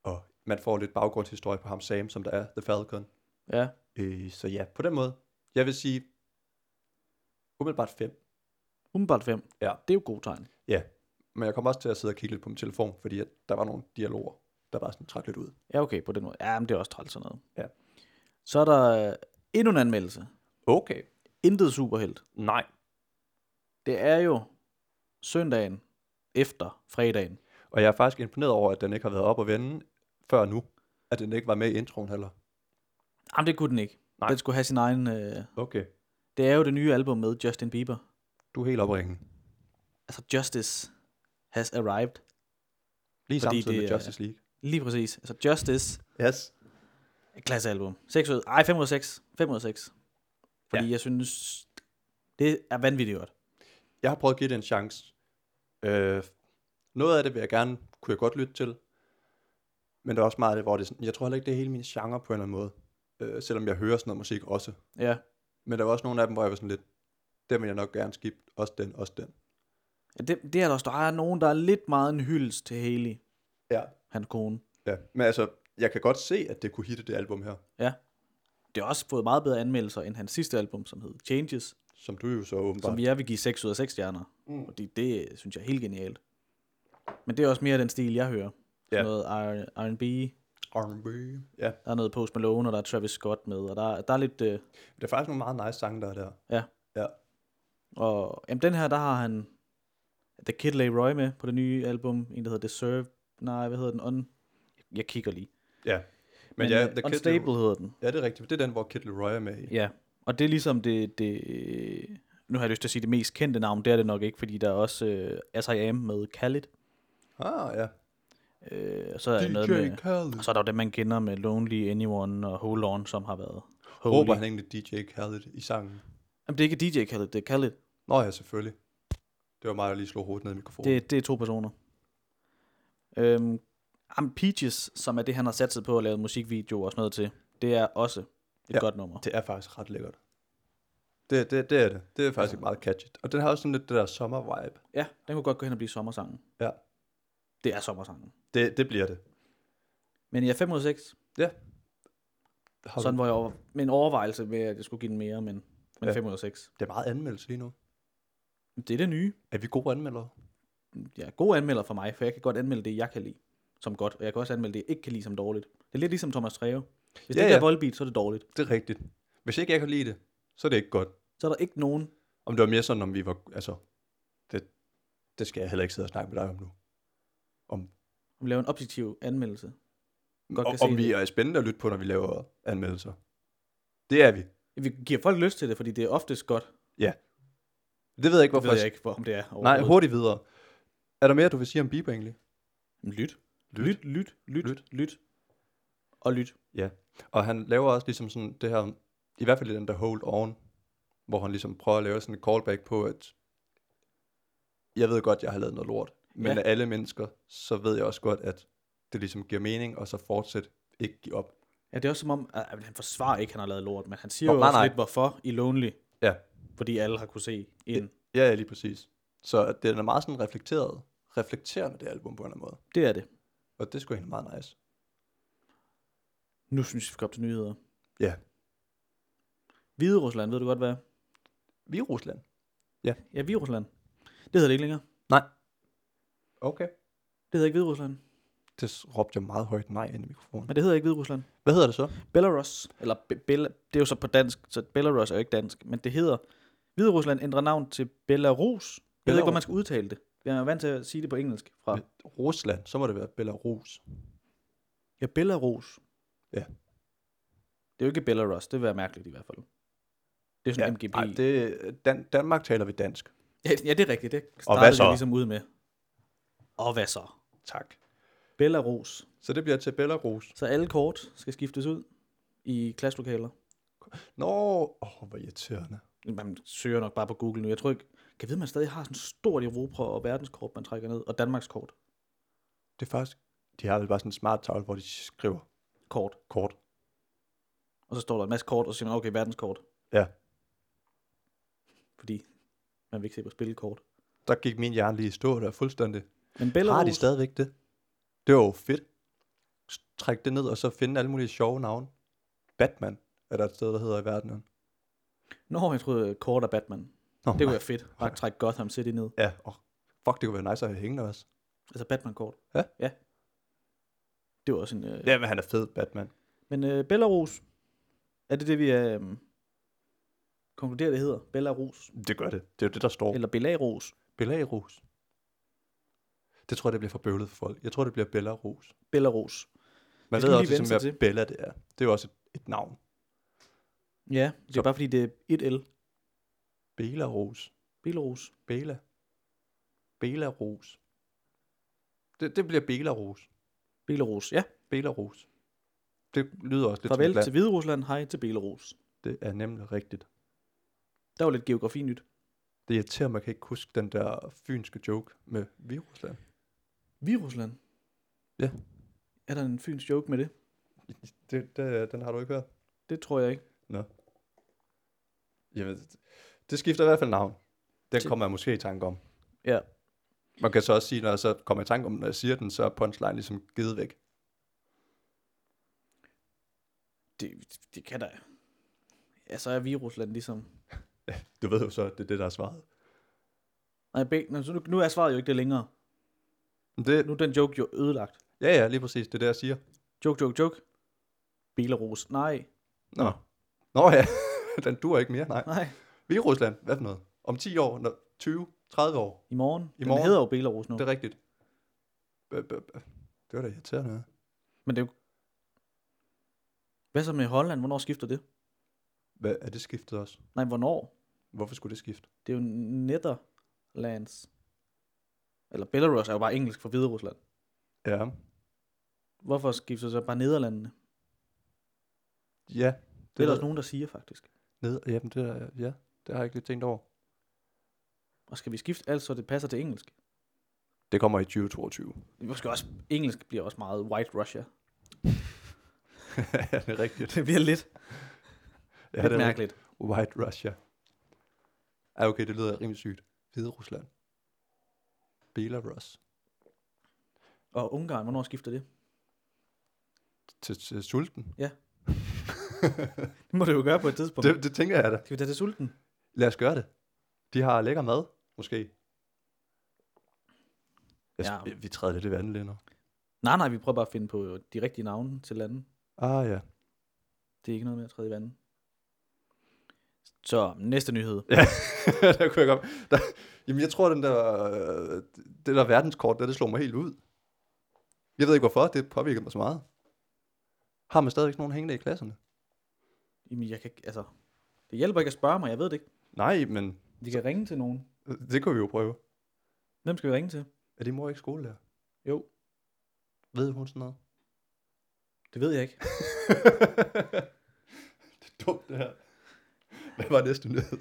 Speaker 2: Og man får lidt baggrundshistorie på ham Sam, som der er The Falcon.
Speaker 3: Ja,
Speaker 2: Øh, så ja, på den måde. Jeg vil sige, umiddelbart fem.
Speaker 3: umiddelbart 5.
Speaker 2: Ja.
Speaker 3: Det er jo god tegn.
Speaker 2: Ja, men jeg kommer også til at sidde og kigge lidt på min telefon, fordi at der var nogle dialoger, der bare sådan trak lidt ud.
Speaker 3: Ja, okay, på den måde. Ja, men det er også træls sådan noget.
Speaker 2: Ja.
Speaker 3: Så er der øh, endnu en anmeldelse.
Speaker 2: Okay.
Speaker 3: Intet superhelt.
Speaker 2: Nej.
Speaker 3: Det er jo søndagen efter fredagen.
Speaker 2: Og jeg er faktisk imponeret over, at den ikke har været op og vende før nu. At den ikke var med i introen heller.
Speaker 3: Jamen, det kunne den ikke.
Speaker 2: Nej.
Speaker 3: Den skulle have sin egen... Øh,
Speaker 2: Okay.
Speaker 3: det er jo det nye album med Justin Bieber.
Speaker 2: Du er helt opringen.
Speaker 3: Altså, Justice has arrived.
Speaker 2: Lige Fordi
Speaker 3: Fordi
Speaker 2: samtidig
Speaker 3: det
Speaker 2: med
Speaker 3: er-
Speaker 2: Justice League.
Speaker 3: Lige præcis. Altså, Justice
Speaker 2: Yes.
Speaker 3: Et klasse album. 6 ud. Ej, 5 ud af 6. 5 ud af 6. Fordi ja. jeg synes, det er vanvittigt godt.
Speaker 2: Jeg har prøvet at give det en chance. Øh, noget af det vil jeg gerne, kunne jeg godt lytte til. Men der er også meget af det, hvor det er sådan, jeg tror heller ikke, det er hele min genre på en eller anden måde. Øh, selvom jeg hører sådan noget musik også.
Speaker 3: Ja.
Speaker 2: Men der var også nogle af dem, hvor jeg var sådan lidt, den vil jeg nok gerne skifte. Også den, også den.
Speaker 3: ja det, det er der også. Der er nogen, der er lidt meget en hyldest til Haley,
Speaker 2: Ja.
Speaker 3: hans kone.
Speaker 2: ja. Men altså, jeg kan godt se, at det kunne hitte det album her.
Speaker 3: Ja. Det har også fået meget bedre anmeldelser end hans sidste album, som hed Changes, som
Speaker 2: Som du jo så åbenbart.
Speaker 3: vi er vil give 6 ud af 6 stjerner. Mm. Fordi det øh, synes jeg er helt genialt. Men det er også mere den stil, jeg hører.
Speaker 2: Ja.
Speaker 3: Ja. Noget R- R&B,
Speaker 2: R&B. Ja.
Speaker 3: der er noget Post Malone, og der er Travis Scott med, og der, der er lidt... Øh,
Speaker 2: Det er faktisk nogle meget nice sange, der er der.
Speaker 3: ja,
Speaker 2: Ja.
Speaker 3: Og jamen, den her, der har han The Kid Leroy med på det nye album. En, der hedder Deserve. Nej, hvad hedder den? Un... Jeg kigger lige.
Speaker 2: Ja. Men,
Speaker 3: Men,
Speaker 2: Men ja,
Speaker 3: øh,
Speaker 2: The Kid
Speaker 3: Unstable
Speaker 2: Leroy-
Speaker 3: hedder den.
Speaker 2: Ja, det er rigtigt. Det er den, hvor Kid Leroy er med i.
Speaker 3: Ja. Og det er ligesom det, det... øh, Nu har jeg lyst til at sige det mest kendte navn. Det er det nok ikke, fordi der er også øh, As I Am med Khalid.
Speaker 2: Ah, ja.
Speaker 3: Øh, og så er der noget
Speaker 2: DJ
Speaker 3: med... Altså,
Speaker 2: Khaled.
Speaker 3: Og så er der jo dem, man kender med Lonely Anyone og Hold On, som har været... Holy.
Speaker 2: Råber han egentlig DJ Khaled i sangen?
Speaker 3: Jamen, det er ikke DJ Khaled, det er Khaled.
Speaker 2: Nå ja, selvfølgelig. Det var mig, der lige slog hovedet ned i mikrofonen. Det...
Speaker 3: Det, det er to personer. Øhm, Am Peaches, som er det, han har sat sig på at lave musikvideoer og sådan noget til, det er også et ja.
Speaker 2: Ja.
Speaker 3: godt nummer.
Speaker 2: det er faktisk ret lækkert. Det, det, det er det. Det er faktisk
Speaker 3: Altså.
Speaker 2: ja. meget catchy. Og den har også sådan lidt det der sommer-vibe.
Speaker 3: Ja, den kunne godt gå hen og blive sommersangen.
Speaker 2: Ja,
Speaker 3: Det er sommersangen.
Speaker 2: det, det bliver det.
Speaker 3: Men jeg ja, 5 ud af 6,
Speaker 2: Ja. Har
Speaker 3: sådan
Speaker 2: du...
Speaker 3: hvor jeg over, med en overvejelse med, at jeg skulle give den mere, men, men ja.
Speaker 2: Ja.
Speaker 3: 5 ud af 6.
Speaker 2: Det er meget anmeldelse lige nu.
Speaker 3: Det er det nye.
Speaker 2: Er vi gode anmeldere?
Speaker 3: Jeg er god anmelder for mig, for jeg kan godt anmelde det, jeg kan lide som godt, og jeg kan også anmelde det, jeg ikke kan lide som dårligt. Det er lidt ligesom Thomas Treve. Hvis
Speaker 2: Ja,
Speaker 3: ja, det ikke
Speaker 2: ja.
Speaker 3: er voldbeat, så er det dårligt.
Speaker 2: Det er rigtigt. Hvis ikke jeg kan lide det, så er det ikke godt.
Speaker 3: Så er der ikke nogen...
Speaker 2: Om det var mere sådan, om vi var... Altså, det, det skal jeg heller ikke sidde og snakke med dig om nu. Om,
Speaker 3: Vi laver en objektiv anmeldelse. Godt
Speaker 2: om,
Speaker 3: kan se
Speaker 2: om vi
Speaker 3: det.
Speaker 2: er spændende at lytte på, når vi laver anmeldelser. Det er vi.
Speaker 3: Vi giver folk lyst til det, fordi det er oftest godt.
Speaker 2: Det ved jeg ikke,
Speaker 3: Det
Speaker 2: hvorfor.
Speaker 3: ved jeg ikke, hvor- om det er
Speaker 2: Nej,
Speaker 3: overhovedet.
Speaker 2: hurtigt videre. Er der mere, du vil sige om Bieber egentlig?
Speaker 3: Lyt. Lyt, lyt, lyt, lyt,
Speaker 2: Lyt.
Speaker 3: lyt. Og lyt.
Speaker 2: Ja. Og han laver også ligesom sådan det her, i hvert fald i den der Hold On, hvor han ligesom prøver at lave sådan et callback på, at jeg ved godt, jeg har lavet noget lort, men
Speaker 3: Ja.
Speaker 2: ja. af alle mennesker, så ved jeg også godt, at det ligesom giver mening, og så fortsæt ikke give op.
Speaker 3: Ja, det er også som om, at at han forsvarer ikke, at han har lavet lort, men han siger jo
Speaker 2: Nå, nej,
Speaker 3: også
Speaker 2: nej.
Speaker 3: lidt, hvorfor i Lonely,
Speaker 2: Ja,
Speaker 3: fordi alle har kunne se ind. Det,
Speaker 2: ja, ja lige præcis. Så at den er meget sådan reflekteret, reflekterende det album på en eller anden måde.
Speaker 3: det er det.
Speaker 2: Og det skulle egentlig meget nice.
Speaker 3: Nu synes jeg, vi skal op til nyheder.
Speaker 2: Ja.
Speaker 3: Hvide Rusland, ved du godt hvad? er?
Speaker 2: Vi er Rusland.
Speaker 3: Ja, Hvide Rusland. Det hedder det ikke længere.
Speaker 2: Okay.
Speaker 3: Det hedder ikke Hvide Rusland.
Speaker 2: Det s- råbte jeg meget højt nej ind i mikrofonen.
Speaker 3: Men det hedder ikke Hvide Rusland.
Speaker 2: Hvad hedder det så?
Speaker 3: Belarus, eller Be- Bela, det er jo så på dansk, så Belarus er jo ikke dansk, men det hedder, Hvide Rusland ændrer navn til Belarus. Jeg ved ikke,
Speaker 2: Belarus.
Speaker 3: hvordan man skal udtale det. Jeg er vant til at sige det på engelsk fra.
Speaker 2: Rusland. Så må det være Belarus.
Speaker 3: Ja, Belarus.
Speaker 2: Ja.
Speaker 3: Det er jo ikke Belarus, det vil være mærkeligt i hvert fald. Det er sådan ja, MGB.
Speaker 2: Ej, det, Dan, Danmark taler vi dansk.
Speaker 3: Ja, ja, det er rigtigt. Det
Speaker 2: hvad
Speaker 3: startede
Speaker 2: så?
Speaker 3: jeg ligesom ud med. Og hvad så?
Speaker 2: Tak.
Speaker 3: Belarus.
Speaker 2: Så det bliver til Belarus.
Speaker 3: Så alle kort skal skiftes ud i klasselokaler.
Speaker 2: Nå, åh, oh, hvor irriterende.
Speaker 3: Man søger nok bare på Google nu. Jeg tror ikke, kan jeg vide, man stadig har sådan et stort Europa- og verdenskort, man trækker ned, og Danmarks kort.
Speaker 2: Det er faktisk, de har vel bare sådan en smart tavle, hvor de skriver
Speaker 3: kort.
Speaker 2: kort.
Speaker 3: Og så står der en masse kort, og så siger man, okay, verdenskort.
Speaker 2: Ja.
Speaker 3: Fordi man vil ikke se på spillekort.
Speaker 2: Der gik min hjerne lige i stå der fuldstændig.
Speaker 3: Men
Speaker 2: Belarus. Har de
Speaker 3: Belarus,
Speaker 2: stadigvæk det? Det var jo fedt. S- Træk det ned, og så finde alle mulige sjove navne. Batman er der et sted, der hedder i verden.
Speaker 3: Nå, jeg troede øh, kort af Batman.
Speaker 2: Nå,
Speaker 3: Det kunne være fedt. Bare trække Gotham City ned.
Speaker 2: Ja, og fuck, det kunne være nice at have hængende også.
Speaker 3: Altså Batman-kort.
Speaker 2: Ja.
Speaker 3: Ja. Det var også en... Øh...
Speaker 2: Ja, men han er fed, Batman.
Speaker 3: Men øh, Belarus, er det det, vi øh, konkluderer, det hedder? Belarus?
Speaker 2: Det gør det. Det er jo det, der står.
Speaker 3: Eller Belarus?
Speaker 2: Belarus. Det tror jeg, det bliver for bøvlet for folk. Jeg tror, det bliver Belarus.
Speaker 3: Belarus.
Speaker 2: Man
Speaker 3: skal
Speaker 2: ved
Speaker 3: lige
Speaker 2: også,
Speaker 3: vende sig
Speaker 2: ligesom,
Speaker 3: til.
Speaker 2: hvad Bella det er. Det er jo også et, et navn.
Speaker 3: Ja, det er
Speaker 2: Så-
Speaker 3: bare fordi, det er et L.
Speaker 2: Belarus.
Speaker 3: Belarus.
Speaker 2: Bela. Belarus. Det, det bliver Belarus.
Speaker 3: Belarus, ja.
Speaker 2: Belarus. Det lyder også lidt som et
Speaker 3: Farvel
Speaker 2: land.
Speaker 3: til Hvide Rusland, hej til Belarus.
Speaker 2: Det er nemlig rigtigt.
Speaker 3: Der var lidt geografi nyt.
Speaker 2: Det irriterer mig, at jeg kan ikke huske den der fynske joke med Virusland.
Speaker 3: Virusland?
Speaker 2: Ja.
Speaker 3: Er der en fyns joke med det?
Speaker 2: Det, det, den har du ikke hørt?
Speaker 3: Det tror jeg ikke.
Speaker 2: Jamen, det- det skifter i hvert fald navn. Den
Speaker 3: Det-
Speaker 2: kommer jeg måske i tanke om.
Speaker 3: Ja.
Speaker 2: Man kan så også sige, når jeg så kommer i tanke om, den, når jeg siger den, så er punchline ligesom givet væk.
Speaker 3: Det, det kan der. Ja, så er Virusland ligesom...
Speaker 2: Du ved jo så, at det er det, der er svaret.
Speaker 3: Nej, Be... Nå, så nu, nu er svaret jo ikke det længere.
Speaker 2: Men Det,
Speaker 3: Nu er den joke jo ødelagt.
Speaker 2: ja, ja, lige præcis. Det er det, jeg siger.
Speaker 3: Joke, joke, joke. Belarus. Nej,
Speaker 2: Nå. Nå ja, den dur ikke mere, nej.
Speaker 3: nej.
Speaker 2: Virusland, hvad for noget? Om 10 år, når 20, 30 år,
Speaker 3: I morgen. I morgen.
Speaker 2: morgen.
Speaker 3: Den hedder jo Belarus nu.
Speaker 2: det er rigtigt. Bø, bø, bø. Det var da irriterende.
Speaker 3: Men det er jo... Hvad så med Holland? Hvornår skifter det?
Speaker 2: Hvad, er det skiftet også?
Speaker 3: Nej, hvornår?
Speaker 2: Hvorfor skulle det skifte?
Speaker 3: Det er jo Netherlands. Eller Belarus er jo bare engelsk for Hvide Rusland.
Speaker 2: Ja,
Speaker 3: Hvorfor skifter så bare Nederlandene? Det,
Speaker 2: ja.
Speaker 3: det er der
Speaker 2: ved-
Speaker 3: også nogen, der siger faktisk.
Speaker 2: Ned, jamen, det, er- ja, det har jeg ikke lige tænkt over.
Speaker 3: Og skal vi skifte alt, så det passer til engelsk?
Speaker 2: Det kommer i 2022.
Speaker 3: Måske også, engelsk bliver også meget white Russia.
Speaker 2: ja, det er rigtigt.
Speaker 3: Det bliver lidt,
Speaker 2: Ja,
Speaker 3: lidt
Speaker 2: det er
Speaker 3: mærkeligt.
Speaker 2: rigtigt. White Russia. Ja, okay, det lyder rimelig sygt. Hvide Rusland. Belarus.
Speaker 3: Og Ungarn, hvornår skifter det?
Speaker 2: Til, til sulten.
Speaker 3: Det må det jo gøre på et tidspunkt. Det...
Speaker 2: Det, det tænker jeg da.
Speaker 3: Skal vi tage til sulten?
Speaker 2: Lad os gøre det. De har lækker mad, måske. Jeg,
Speaker 3: Ja.
Speaker 2: ja. Vi træder lidt i vandet lige nu.
Speaker 3: Nej, nej, vi prøver bare at finde på de rigtige navne til lande.
Speaker 2: Ah ja.
Speaker 3: Det er ikke noget med at træde i vandet. Så næste nyhed.
Speaker 2: Ja, der kunne jeg godt. Der, jamen, jeg tror, den der, øh, det der verdenskort, der, det slog mig helt ud. Jeg ved ikke, hvorfor. Det påvirkede mig så meget. Har man stadigvæk sådan nogen hængende i klasserne?
Speaker 3: Jamen, jeg kan ikke, altså, det hjælper ikke at spørge mig, jeg ved det ikke.
Speaker 2: Nej, men
Speaker 3: Vi kan ringe til nogen.
Speaker 2: øh, det kunne vi jo prøve.
Speaker 3: Hvem skal vi ringe til?
Speaker 2: Er din mor ikke skolelærer?
Speaker 3: Jo,
Speaker 2: Ved hun sådan noget?
Speaker 3: det ved jeg ikke.
Speaker 2: det er dumt, det her. Hvad var næste nyhed?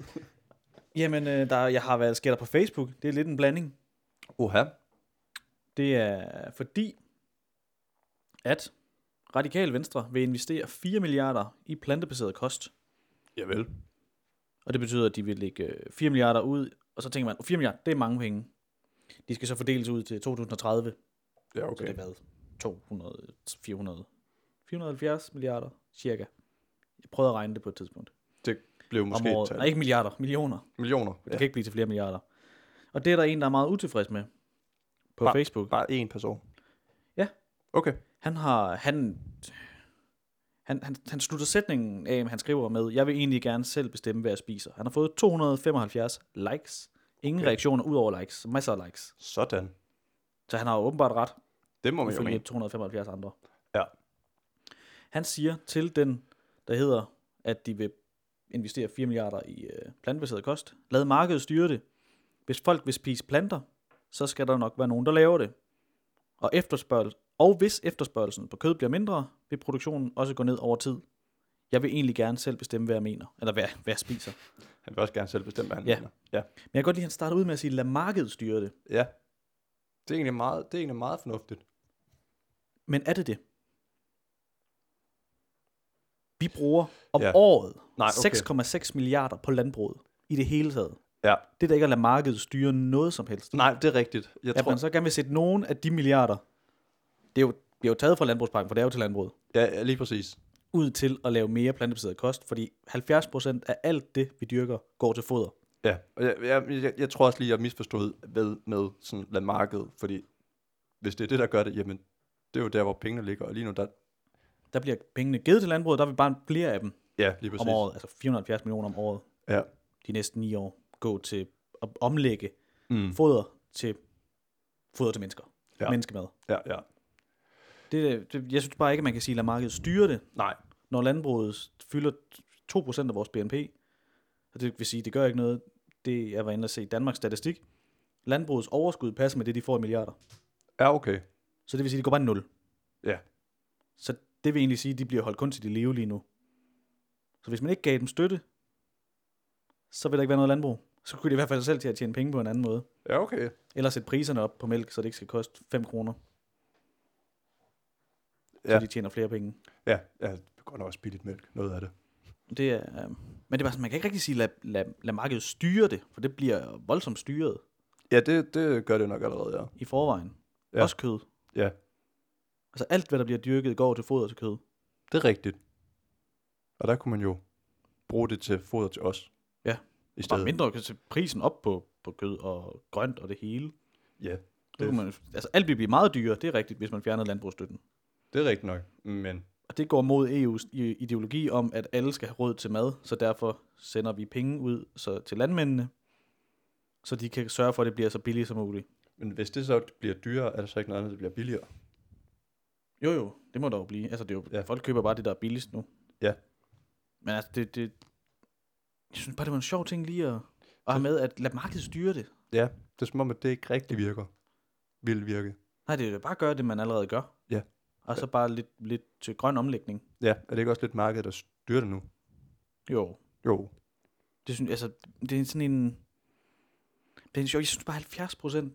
Speaker 3: Jamen, øh, der, jeg har været sker der på Facebook. Det er lidt en blanding.
Speaker 2: Oha.
Speaker 3: Det er fordi, at Radikal Venstre vil investere 4 milliarder i plantebaseret kost.
Speaker 2: Javel.
Speaker 3: Og det betyder, at de vil lægge øh, 4 milliarder ud, og så tænker man, 4 milliarder, det er mange penge. De skal så fordeles ud til 2030,
Speaker 2: Ja,
Speaker 3: okay. så det er hvad? 200, 400, 470 milliarder, cirka. Jeg prøvede at regne det på et tidspunkt.
Speaker 2: Blev måske
Speaker 3: om
Speaker 2: et
Speaker 3: året.
Speaker 2: tal.
Speaker 3: Nej, ikke milliarder, millioner.
Speaker 2: Millioner.
Speaker 3: Det
Speaker 2: Ja.
Speaker 3: kan ikke blive til flere milliarder. Og det er der en, der er meget utilfreds med på
Speaker 2: Bare-
Speaker 3: Facebook.
Speaker 2: Bare én person.
Speaker 3: Ja.
Speaker 2: Okay.
Speaker 3: Han har, han, han, han, han slutter sætningen af, han skriver med, jeg vil egentlig gerne selv bestemme, hvad jeg spiser. Han har fået 275 likes. Ingen
Speaker 2: Okay.
Speaker 3: okay. reaktioner ud over likes. Masser af likes.
Speaker 2: Sådan.
Speaker 3: Så han har åbenbart ret,
Speaker 2: Det må man jo
Speaker 3: ifølge
Speaker 2: mene.
Speaker 3: 275 andre.
Speaker 2: Ja.
Speaker 3: Han siger til den, der hedder, at de vil investere 4 milliarder i øh, plantebaseret kost. Lad markedet styre det. Hvis folk vil spise planter, så skal der nok være nogen, der laver det. Og, efterspørg- og hvis efterspørgelsen på kød bliver mindre, vil produktionen også gå ned over tid. Jeg vil egentlig gerne selv bestemme, hvad jeg mener, eller hvad, hvad jeg spiser.
Speaker 2: Han vil også gerne selv bestemme, hvad han
Speaker 3: Ja.
Speaker 2: mener. Ja.
Speaker 3: Men jeg kan godt lide, at han starter ud med at sige, lad markedet styre det.
Speaker 2: Ja. Det er egentlig meget, det er egentlig meget fornuftigt.
Speaker 3: Men er det det? Vi bruger om
Speaker 2: Ja.
Speaker 3: ja. året
Speaker 2: Nej, okay.
Speaker 3: 6,6 milliarder på landbruget i det hele taget.
Speaker 2: Ja.
Speaker 3: Det der ikke at lade markedet styre noget som helst.
Speaker 2: Nej, det er rigtigt. Jeg
Speaker 3: Jeg
Speaker 2: tror,
Speaker 3: tror... man så gerne vil sætte nogen af de milliarder, det er jo, bliver jo taget fra landbrugspakken, for det er jo til landbruget,
Speaker 2: ja, ja, lige præcis.
Speaker 3: ud til at lave mere plantebaseret kost, fordi 70% af alt det, vi dyrker, går til foder.
Speaker 2: Ja, og jeg, jeg, jeg, jeg tror også lige, jeg misforstod ved med sådan lad markedet, fordi hvis det er det, der gør det, jamen, det er jo der, hvor pengene ligger, og lige nu, der,
Speaker 3: Der bliver pengene givet til landbruget, der vil bare flere af dem
Speaker 2: ja, lige præcis.
Speaker 3: om året, altså 470 millioner om året
Speaker 2: Ja.
Speaker 3: de næste ni år, gå til at omlægge
Speaker 2: Mm.
Speaker 3: foder til foder til mennesker.
Speaker 2: Ja.
Speaker 3: Ja. Menneskemad.
Speaker 2: ja, ja.
Speaker 3: Det, det, jeg synes bare ikke, at man kan sige, lad markedet styre det,
Speaker 2: Nej,
Speaker 3: når landbruget fylder 2% af vores BNP. Og det vil sige, det gør ikke noget. Det jeg var inde og se i Danmarks statistik. Landbrugets overskud passer med det, de får i milliarder.
Speaker 2: ja, okay.
Speaker 3: Så det vil sige, det går bare i nul.
Speaker 2: Ja.
Speaker 3: Så det vil egentlig sige, at de bliver holdt kun til de leve lige nu. Så hvis man ikke gav dem støtte, så vil der ikke være noget landbrug. Så kunne de i hvert fald selv til at tjene penge på en anden måde.
Speaker 2: Ja, okay.
Speaker 3: Eller sætte priserne op på mælk, så det ikke skal koste 5 kroner. Ja.
Speaker 2: Ja.
Speaker 3: Så de tjener flere penge.
Speaker 2: Ja, ja, det er godt nok også billigt mælk, noget af det.
Speaker 3: Det er, øh, men det er bare sådan, man kan ikke rigtig sige, lad, lad, lad markedet styre det, for det bliver voldsomt styret
Speaker 2: Ja, det, det gør det nok allerede, ja.
Speaker 3: i forvejen.
Speaker 2: Ja.
Speaker 3: Ja. Også kød.
Speaker 2: Ja,
Speaker 3: Altså alt, hvad der bliver dyrket, går til foder til kød.
Speaker 2: det er rigtigt. Og der kunne man jo bruge det til foder til os.
Speaker 3: Ja.
Speaker 2: I
Speaker 3: Bare
Speaker 2: stedet.
Speaker 3: mindre kan sætte prisen op på, på kød og grønt og det hele.
Speaker 2: Ja,
Speaker 3: Det.
Speaker 2: Det-
Speaker 3: Kunne man, altså alt vil blive meget dyrere, det er rigtigt, hvis man fjerner landbrugsstøtten.
Speaker 2: det er rigtigt nok. Men
Speaker 3: Og det går mod EU's i- ideologi om, at alle skal have råd til mad, så derfor sender vi penge ud så til landmændene, så de kan sørge for, at det bliver så billigt som muligt.
Speaker 2: Men hvis det så bliver dyrere, er der så ikke noget andet, der bliver billigere?
Speaker 3: Jo jo, det må der jo blive. Altså, det er jo,
Speaker 2: Ja.
Speaker 3: ja. folk køber bare det, der er billigst nu.
Speaker 2: Ja.
Speaker 3: Men altså, det, det, jeg synes bare, det var en sjov ting lige at, at have med, at lade markedet styre det.
Speaker 2: Ja, det er som om, at det ikke rigtig virker. Vil virke.
Speaker 3: Nej, det er jo bare at gøre det, man allerede gør.
Speaker 2: Ja.
Speaker 3: Og så bare lidt, lidt til grøn omlægning.
Speaker 2: Ja, er det ikke også lidt markedet, der styrer det nu?
Speaker 3: Jo.
Speaker 2: Jo.
Speaker 3: Det synes, altså, det er sådan en... Det er en sjov, jeg synes bare 70 procent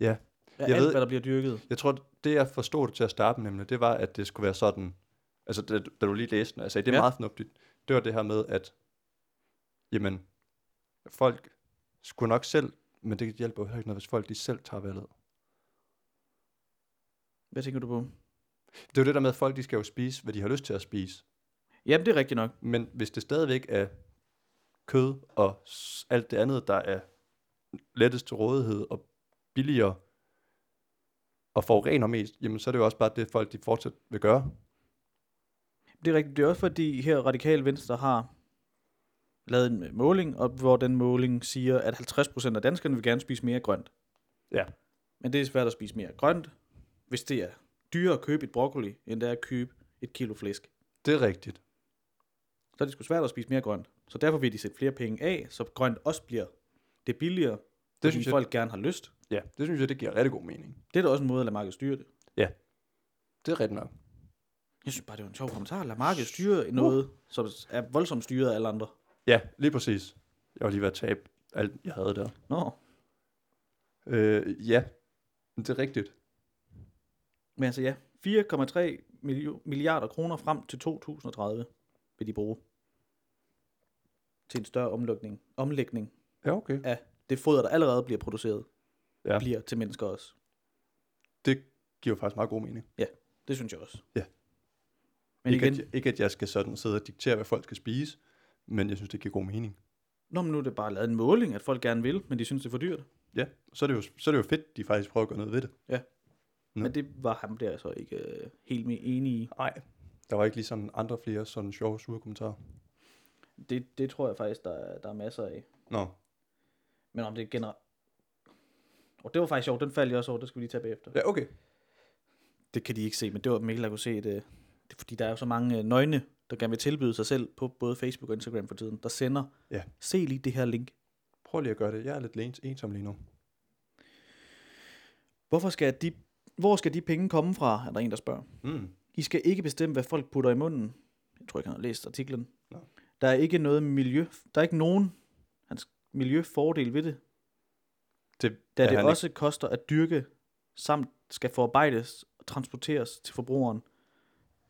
Speaker 2: Ja.
Speaker 3: af
Speaker 2: Jeg
Speaker 3: alt,
Speaker 2: ved-
Speaker 3: hvad der bliver dyrket.
Speaker 2: Jeg tror, det jeg forstod det til at starte med, nemlig, det var, at det skulle være sådan, altså da, da du lige læste den, og jeg sagde, det er ja.
Speaker 3: Ja.
Speaker 2: meget fornuftigt, det var det her med, at jamen, folk skulle nok selv, men det hjælper jo heller ikke noget, hvis folk de selv tager valget.
Speaker 3: Hvad tænker du på?
Speaker 2: Det er jo det der med, at folk de skal jo spise, hvad de har lyst til at spise.
Speaker 3: Jamen, det er rigtigt nok.
Speaker 2: Men hvis det stadigvæk er kød og s- alt det andet, der er lettest til rådighed og billigere og forurener mest, jamen så er det jo også bare det, folk de fortsat vil gøre.
Speaker 3: Det er rigtigt. Det er også fordi her Radikal Venstre har lavet en øh, måling, og hvor den måling siger, at 50% af danskerne vil gerne spise mere grønt.
Speaker 2: Ja.
Speaker 3: Men det er svært at spise mere grønt, hvis det er dyrere at købe et broccoli, end det er at købe et kilo flæsk.
Speaker 2: Det er rigtigt.
Speaker 3: Så er det sgu svært at spise mere grønt. Så derfor vil de sætte flere penge af, så grønt også bliver det billigere, det fordi
Speaker 2: synes
Speaker 3: synes
Speaker 2: jeg-
Speaker 3: folk gerne har lyst.
Speaker 2: Ja, det synes jeg, det giver rigtig god mening.
Speaker 3: Det er da også en måde at lade markedet styre det.
Speaker 2: Det er rigtigt nok.
Speaker 3: Jeg synes bare, det var en sjov kommentar. Lad markedet styre noget, uh. som er voldsomt styret af alle andre.
Speaker 2: Ja, lige præcis. Jeg var lige ved at tabe alt, jeg havde der.
Speaker 3: Nå,
Speaker 2: Øh, ja, det er rigtigt.
Speaker 3: Men altså ja, 4,3 millio- milliarder kroner frem til 2030 vil de bruge til en større omlægning, omlægning
Speaker 2: Ja, okay.
Speaker 3: af det foder, der allerede bliver produceret,
Speaker 2: Ja.
Speaker 3: ja. bliver til mennesker også.
Speaker 2: Det giver jo faktisk meget god mening.
Speaker 3: Det synes jeg også.
Speaker 2: Ja.
Speaker 3: Men
Speaker 2: ikke,
Speaker 3: igen,
Speaker 2: at, jeg- ikke at jeg skal sådan sidde og diktere, hvad folk skal spise, men jeg synes, det giver god mening.
Speaker 3: Nå, men nu er det bare lavet en måling, at folk gerne vil, men de synes, det er for dyrt.
Speaker 2: Ja, så er det jo, så er det jo fedt, de faktisk prøver at gøre noget ved det. Nå.
Speaker 3: Men det var ham der så ikke øh, helt med enig i.
Speaker 2: Nej. Der var ikke ligesom andre flere sådan sjove, sure kommentarer.
Speaker 3: Det, det tror jeg faktisk, der, er- der er masser af.
Speaker 2: Nå,
Speaker 3: Men om det er generelt... Og det var faktisk sjovt, den faldt jeg også over, det skal vi lige tage bagefter.
Speaker 2: ja, okay.
Speaker 3: Det kan de ikke se, men det var Mikkel, der kunne se det. det er, fordi der er jo så mange øh, nøgne, der gerne vil tilbyde sig selv på både Facebook og Instagram for tiden, der sender,
Speaker 2: Ja.
Speaker 3: se lige det her link.
Speaker 2: Prøv lige at gøre det. Jeg er lidt lens- ensom lige nu.
Speaker 3: Hvorfor skal de, hvor skal de penge komme fra, er der en, der spørger.
Speaker 2: Mm.
Speaker 3: I skal ikke bestemme, hvad folk putter i munden. Jeg tror ikke, han har læst artiklen.
Speaker 2: Nå.
Speaker 3: Der er ikke noget miljø, der er ikke nogen hans miljøfordel ved det,
Speaker 2: Det
Speaker 3: da
Speaker 2: er
Speaker 3: det
Speaker 2: han
Speaker 3: også ikke. koster at dyrke, samt skal forarbejdes og transporteres til forbrugeren.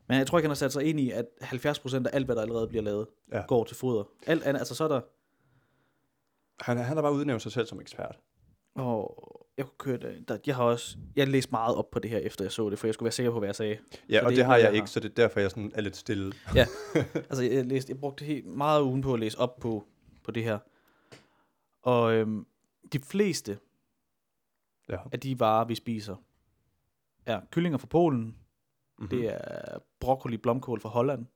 Speaker 3: Men jeg tror ikke, han har sat sig ind i, at 70% af alt, hvad der allerede bliver lavet,
Speaker 2: Ja.
Speaker 3: ja. går til foder. Alt andet, altså så er der...
Speaker 2: Ikke. Han, han har bare udnævnt sig selv som ekspert.
Speaker 3: Og jeg kunne køre det. Der, jeg har også... Jeg læste meget op på det her, efter jeg så det, for jeg skulle være sikker på, hvad jeg sagde.
Speaker 2: Ja, og
Speaker 3: Så er
Speaker 2: det, det har
Speaker 3: noget,
Speaker 2: jeg ikke, så det er derfor, jeg sådan er lidt stille.
Speaker 3: Ja, altså jeg, læste, jeg brugte helt meget af ugen på at læse op på, på det her. Og øhm, de fleste
Speaker 2: Ja.
Speaker 3: af de varer, vi spiser, er kyllinger fra Polen, mm-hmm.
Speaker 2: Mm-hmm.
Speaker 3: det er broccoli, blomkål fra Holland.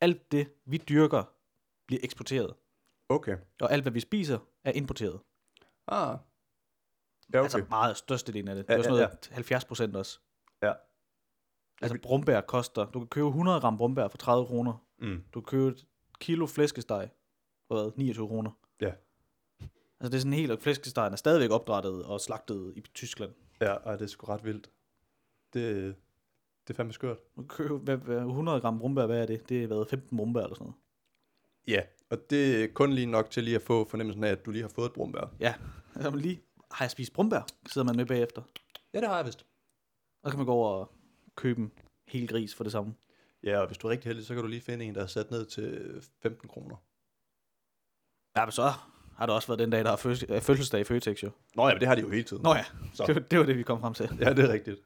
Speaker 3: Alt det, vi dyrker, bliver eksporteret.
Speaker 2: Okay.
Speaker 3: Og alt, hvad vi spiser, er importeret.
Speaker 2: Ah. Ja,
Speaker 3: Okay.
Speaker 2: okay.
Speaker 3: Altså meget størstedelen af det. Det
Speaker 2: Ja,
Speaker 3: er jo sådan
Speaker 2: ja,
Speaker 3: noget 70 procent også.
Speaker 2: Ja.
Speaker 3: Altså brumbær koster, du kan købe 100 gram brumbær for 30 kroner.
Speaker 2: mm.
Speaker 3: Du kan købe et kilo flæskesteg for hvad, 29 kroner.
Speaker 2: Ja.
Speaker 3: Altså det er sådan helt, og flæskestegen er stadigvæk opdrettet og slagtet i Tyskland.
Speaker 2: Ja, og det er sgu ret vildt. Det, det er fandme skørt.
Speaker 3: Du kan købe hvad, hvad, 100 gram brumbær, hvad er det? Det er været 15 brumbær eller sådan noget.
Speaker 2: Ja, og det er kun lige nok til lige at få fornemmelsen af, at du lige har fået et brumbær.
Speaker 3: Ja, altså man lige, har jeg spist brumbær? Sidder man med bagefter.
Speaker 2: Ja, det har jeg vist.
Speaker 3: Og så kan man gå over og købe en hel gris for det samme.
Speaker 2: Ja, og hvis du er rigtig heldig, så kan du lige finde en, der er sat ned til 15 kroner.
Speaker 3: Ja, men så har det også været den dag, der har fødsel, øh, fødselsdag i Føtex jo.
Speaker 2: Nå ja, men det har de jo hele tiden.
Speaker 3: Nå ja,
Speaker 2: Så.
Speaker 3: det, var- det var det, vi kom frem til.
Speaker 2: Ja, det er rigtigt.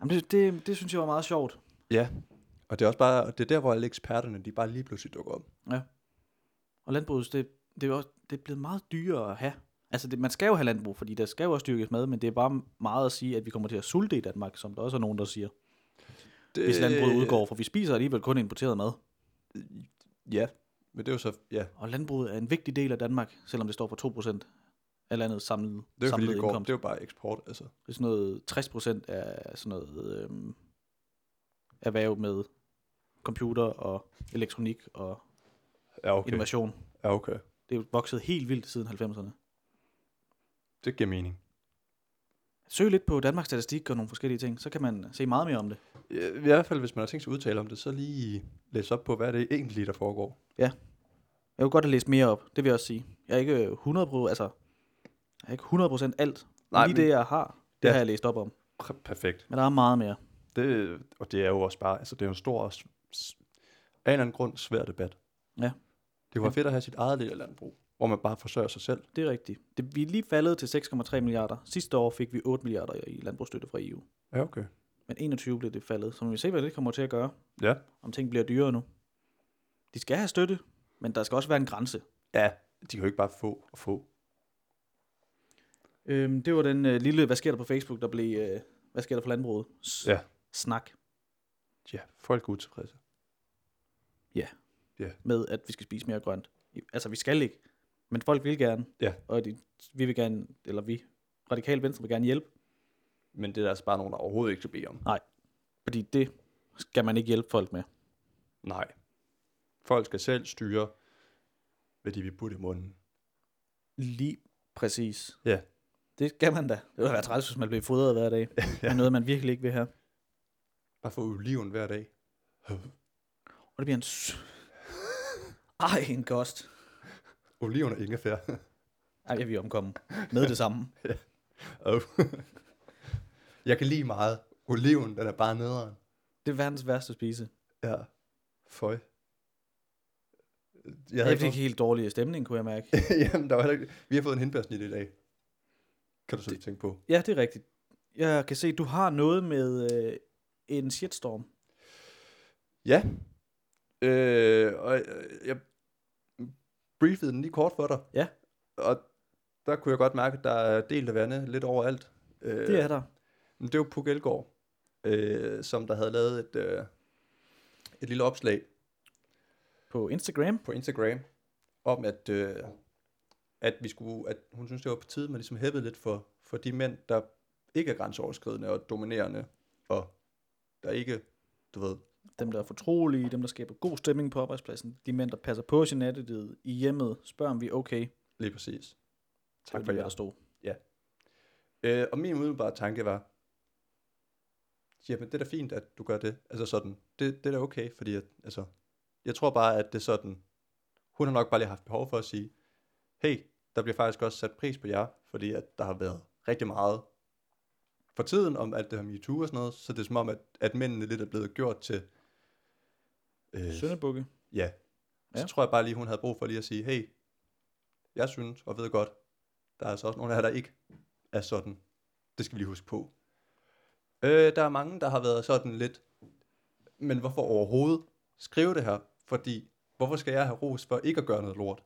Speaker 3: Jamen det, det, det synes jeg var meget sjovt.
Speaker 2: Ja, og det er også bare, og det er der, hvor alle eksperterne, de bare lige pludselig dukker op.
Speaker 3: Og landbruget, det, det, er jo også, det er blevet meget dyrere at have. Altså, det, man skal jo have landbrug, fordi der skal jo også dyrkes mad, men det er bare meget at sige, at vi kommer til at sulte i Danmark, som der også er nogen, der siger,
Speaker 2: Det,
Speaker 3: hvis landbruget udgår, for vi spiser alligevel kun importeret mad.
Speaker 2: Ja, men det er jo så, ja,
Speaker 3: Og landbruget er en vigtig del af Danmark, selvom det står for 2% af landets samlede,
Speaker 2: det er jo fordi,
Speaker 3: samlede
Speaker 2: det, går,
Speaker 3: indkomst.
Speaker 2: det er jo bare eksport, altså.
Speaker 3: Det er sådan noget 60% af sådan noget øhm, erhverv med computer og elektronik og okay.
Speaker 2: Ja, okay.
Speaker 3: innovation.
Speaker 2: Ja, okay.
Speaker 3: Det er jo vokset helt vildt siden 90'erne.
Speaker 2: Det giver mening.
Speaker 3: Søg lidt på Danmarks Statistik og nogle forskellige ting, så kan man se meget mere om det.
Speaker 2: Ja, I hvert fald, hvis man har tænkt sig at udtale om det, så lige læs op på, hvad det egentlig, der foregår.
Speaker 3: Jeg kunne godt have læst mere op, det vil jeg også sige. Jeg er ikke øh, 100%, altså, jeg er ikke 100% alt. Nej,
Speaker 2: Nej,
Speaker 3: Lige
Speaker 2: men-
Speaker 3: det, jeg har,
Speaker 2: Ja.
Speaker 3: det ja. har jeg læst op om.
Speaker 2: Præ- Perfekt.
Speaker 3: Men der er meget mere.
Speaker 2: Det, og det er jo også bare, altså det er jo en stor, og s- s- af en eller anden grund, svær debat.
Speaker 3: Ja.
Speaker 2: Det var fedt at have sit eget lille landbrug, hvor man bare forsørger sig selv.
Speaker 3: Det er rigtigt. Det, vi er lige faldet til 6,3 milliarder. Sidste år fik vi 8 milliarder i landbrugsstøtte fra EU.
Speaker 2: Ja, okay.
Speaker 3: Men 21 blev det faldet. Så må vi se, hvad det kommer til at gøre.
Speaker 2: Ja.
Speaker 3: Om ting bliver dyrere nu. De skal have støtte, men der skal også være en grænse.
Speaker 2: Ja, de kan jo ikke bare få og få.
Speaker 3: Øhm, det var den øh, lille, hvad sker der på Facebook, der blev, øh, hvad sker der for landbruget? S-
Speaker 2: Ja.
Speaker 3: Snak
Speaker 2: Ja, folk er utilfredse.
Speaker 3: med, at vi skal spise mere grønt. I- Altså, vi skal ikke, men folk vil gerne.
Speaker 2: Ja.
Speaker 3: Og de, vi vil gerne, eller vi, radikale venstre vil gerne hjælpe,
Speaker 2: Men det er der altså bare nogen, der overhovedet ikke kan bede om.
Speaker 3: fordi det skal man ikke hjælpe folk med.
Speaker 2: Nej. Folk skal selv styre, hvad de vil putte i munden.
Speaker 3: Lige præcis.
Speaker 2: Ja.
Speaker 3: Det skal man da. Det ville være træls, hvis man blev fodret hver dag. ja. Det er noget, man virkelig ikke vil have.
Speaker 2: Bare få oliven hver dag.
Speaker 3: Og det bliver en... s- Ej, en kost.
Speaker 2: Oliven og ingefær.
Speaker 3: Ej, jeg vil omkomme med det samme.
Speaker 2: oh. jeg kan lide meget. Oliven, den er bare nederen.
Speaker 3: Det er verdens værste at spise.
Speaker 2: Ja. Føj. Jeg havde
Speaker 3: Jeg
Speaker 2: ikke
Speaker 3: fik helt dårlig stemning, kunne jeg mærke.
Speaker 2: Jamen, der var heller ikke... Vi har fået en hindbærsnit i dag. Kan du så lige tænke på?
Speaker 3: Ja, det er rigtigt. Jeg kan se, du har noget med øh, en shitstorm.
Speaker 2: Ja. Øh, og jeg, jeg briefede den lige kort for dig.
Speaker 3: Ja.
Speaker 2: Og der kunne jeg godt mærke, at der er delt af vandet lidt overalt. Øh,
Speaker 3: Det er der.
Speaker 2: Men det var Puk Elgård, øh, som der havde lavet et, øh, et lille opslag
Speaker 3: På Instagram.
Speaker 2: på Instagram, om at, øh, at, vi skulle, at hun synes, det var på tide, man ligesom hæppede lidt for, for de mænd, der ikke er grænseoverskridende og dominerende, og der ikke, du ved,
Speaker 3: Dem, der er fortrolige, dem, der skaber god stemning på arbejdspladsen. De mænd, der passer på sin attitude i hjemmet. Spørger, om vi er okay.
Speaker 2: lige præcis.
Speaker 3: Det var
Speaker 2: Tak for
Speaker 3: det,
Speaker 2: jer.
Speaker 3: der stod.
Speaker 2: Øh, og min umiddelbare tanke var, jamen det er da fint, at du gør det. Altså sådan, det, det er da okay, fordi at, altså, jeg tror bare, at det er sådan, hun har nok bare lige haft behov for at sige, hey, der bliver faktisk også sat pris på jer, fordi at der har været rigtig meget for tiden om alt det her MeToo og sådan noget, så det er som om, at, at mændene lidt er blevet gjort til, øh,
Speaker 3: Sønderbukke.
Speaker 2: ja, så
Speaker 3: Ja.
Speaker 2: tror jeg bare lige, hun havde brug for lige at sige, hey, jeg synes og ved godt, der er altså også nogle af jer, der ikke er sådan. Det skal vi lige huske på. Øh, der er mange, der har været sådan lidt, men hvorfor overhovedet skrive det her? Fordi, hvorfor skal jeg have ros for ikke at gøre noget lort?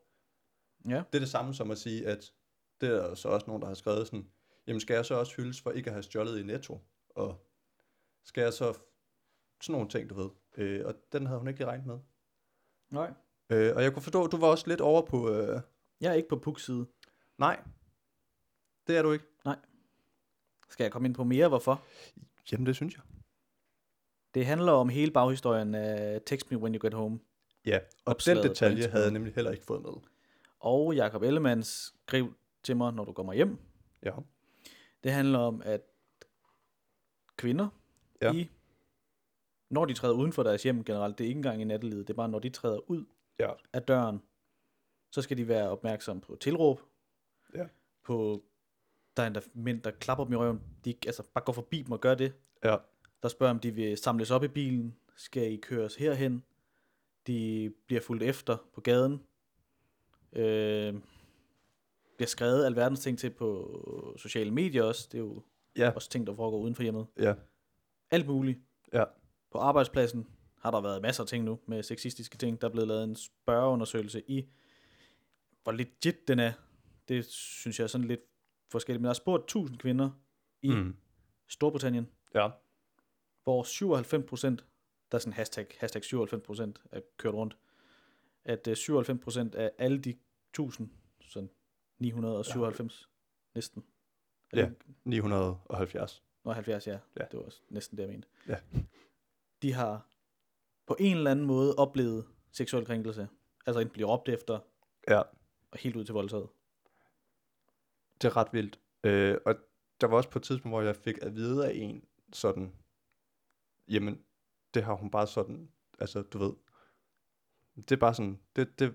Speaker 3: Ja.
Speaker 2: Det er det samme som at sige, at det er der så også nogen, der har skrevet sådan, jamen skal jeg så også hyldes for ikke at have stjålet i Netto? Og skal jeg så... Sådan nogle ting, du ved. Øh, og den havde hun ikke lige regnet med.
Speaker 3: Nej.
Speaker 2: Øh, og jeg kunne forstå, at du var også lidt over på... Øh,
Speaker 3: Jeg er ikke på Puks side.
Speaker 2: nej, det er du ikke.
Speaker 3: Skal jeg komme ind på mere? Hvorfor?
Speaker 2: Jamen, det synes jeg.
Speaker 3: Det handler om hele baghistorien af Text Me When You Get Home.
Speaker 2: Ja, og
Speaker 3: Opslaget
Speaker 2: den
Speaker 3: på
Speaker 2: detalje
Speaker 3: Instagram.
Speaker 2: havde jeg nemlig heller ikke fået med.
Speaker 3: Og Jakob Ellemanns skriv til mig, når du kommer hjem.
Speaker 2: Ja.
Speaker 3: Det handler om, at kvinder,
Speaker 2: Ja.
Speaker 3: ja. i, når de træder uden for deres hjem generelt, det er ikke engang i nattelivet, det er bare, når de træder ud
Speaker 2: Ja.
Speaker 3: af døren, så skal de være opmærksomme på tilråb,
Speaker 2: Ja.
Speaker 3: på, der er endda mænd, der klapper dem i røven, de ikke- altså, bare går forbi dem og gør det,
Speaker 2: Ja.
Speaker 3: der spørger, om de vil samles op i bilen, skal I køres herhen, de bliver fulgt efter på gaden, øh, bliver skrevet alverdens ting til på sociale medier også, det er jo
Speaker 2: Ja.
Speaker 3: også ting, der foregår uden for hjemmet.
Speaker 2: Ja.
Speaker 3: Alt muligt.
Speaker 2: Ja.
Speaker 3: På arbejdspladsen har der været masser af ting nu med sexistiske ting. Der er blevet lavet en spørgeundersøgelse i, hvor legit den er. Det synes jeg er sådan lidt forskelligt. Men der er spurgt 1000 kvinder i mm. Storbritannien,
Speaker 2: Ja.
Speaker 3: hvor 97 procent, der er sådan en hashtag, hashtag 97 procent er kørt rundt, at øh, 97 procent af alle de 1000, sådan 997 næsten, Er det
Speaker 2: Ja. 970.
Speaker 3: Nå, 70, ja.
Speaker 2: Ja.
Speaker 3: ja. Det var også næsten det, jeg mente.
Speaker 2: Ja.
Speaker 3: De har på en eller anden måde oplevet seksuel krænkelse. Altså enten blive råbt efter,
Speaker 2: Ja.
Speaker 3: og helt ud til voldtaget.
Speaker 2: Det er ret vildt. Øh, og der var også på et tidspunkt, hvor jeg fik at vide af en sådan, jamen, det har hun bare sådan, altså, du ved, det er bare sådan, det, det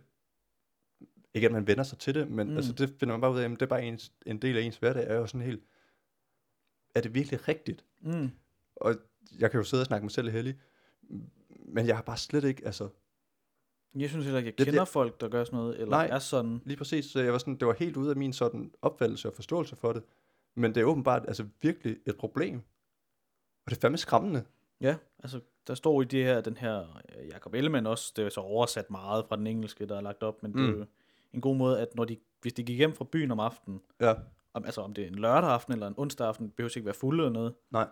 Speaker 2: ikke at man vender sig til det, men mm.
Speaker 3: Mm.
Speaker 2: altså, det finder man bare ud af, jamen, det er bare ens, en del af ens hverdag, er jo sådan helt, er det virkelig rigtigt?
Speaker 3: Mm.
Speaker 2: Og jeg kan jo sidde og snakke mig selv heldig, men jeg har bare slet ikke, altså,
Speaker 3: Jeg synes heller ikke, jeg
Speaker 2: Det- det-
Speaker 3: kender folk, der gør sådan noget, eller
Speaker 2: Nej.
Speaker 3: Nej. er sådan.
Speaker 2: Lige præcis, så jeg var sådan, det var helt ude af min sådan opfattelse og forståelse for det. Men det er åbenbart altså virkelig et problem. Og det er fandme skræmmende.
Speaker 3: Ja, altså der står i det her, den her øh, Jacob Ellemann også, det er så oversat meget fra den engelske, der er lagt op, men mm. det
Speaker 2: Mm.
Speaker 3: er jo en god måde, at når de, hvis de gik hjem fra byen om aftenen,
Speaker 2: Ja.
Speaker 3: om, altså om det er en lørdag aften eller en onsdag aften, behøver ikke være fulde eller noget,
Speaker 2: Nej.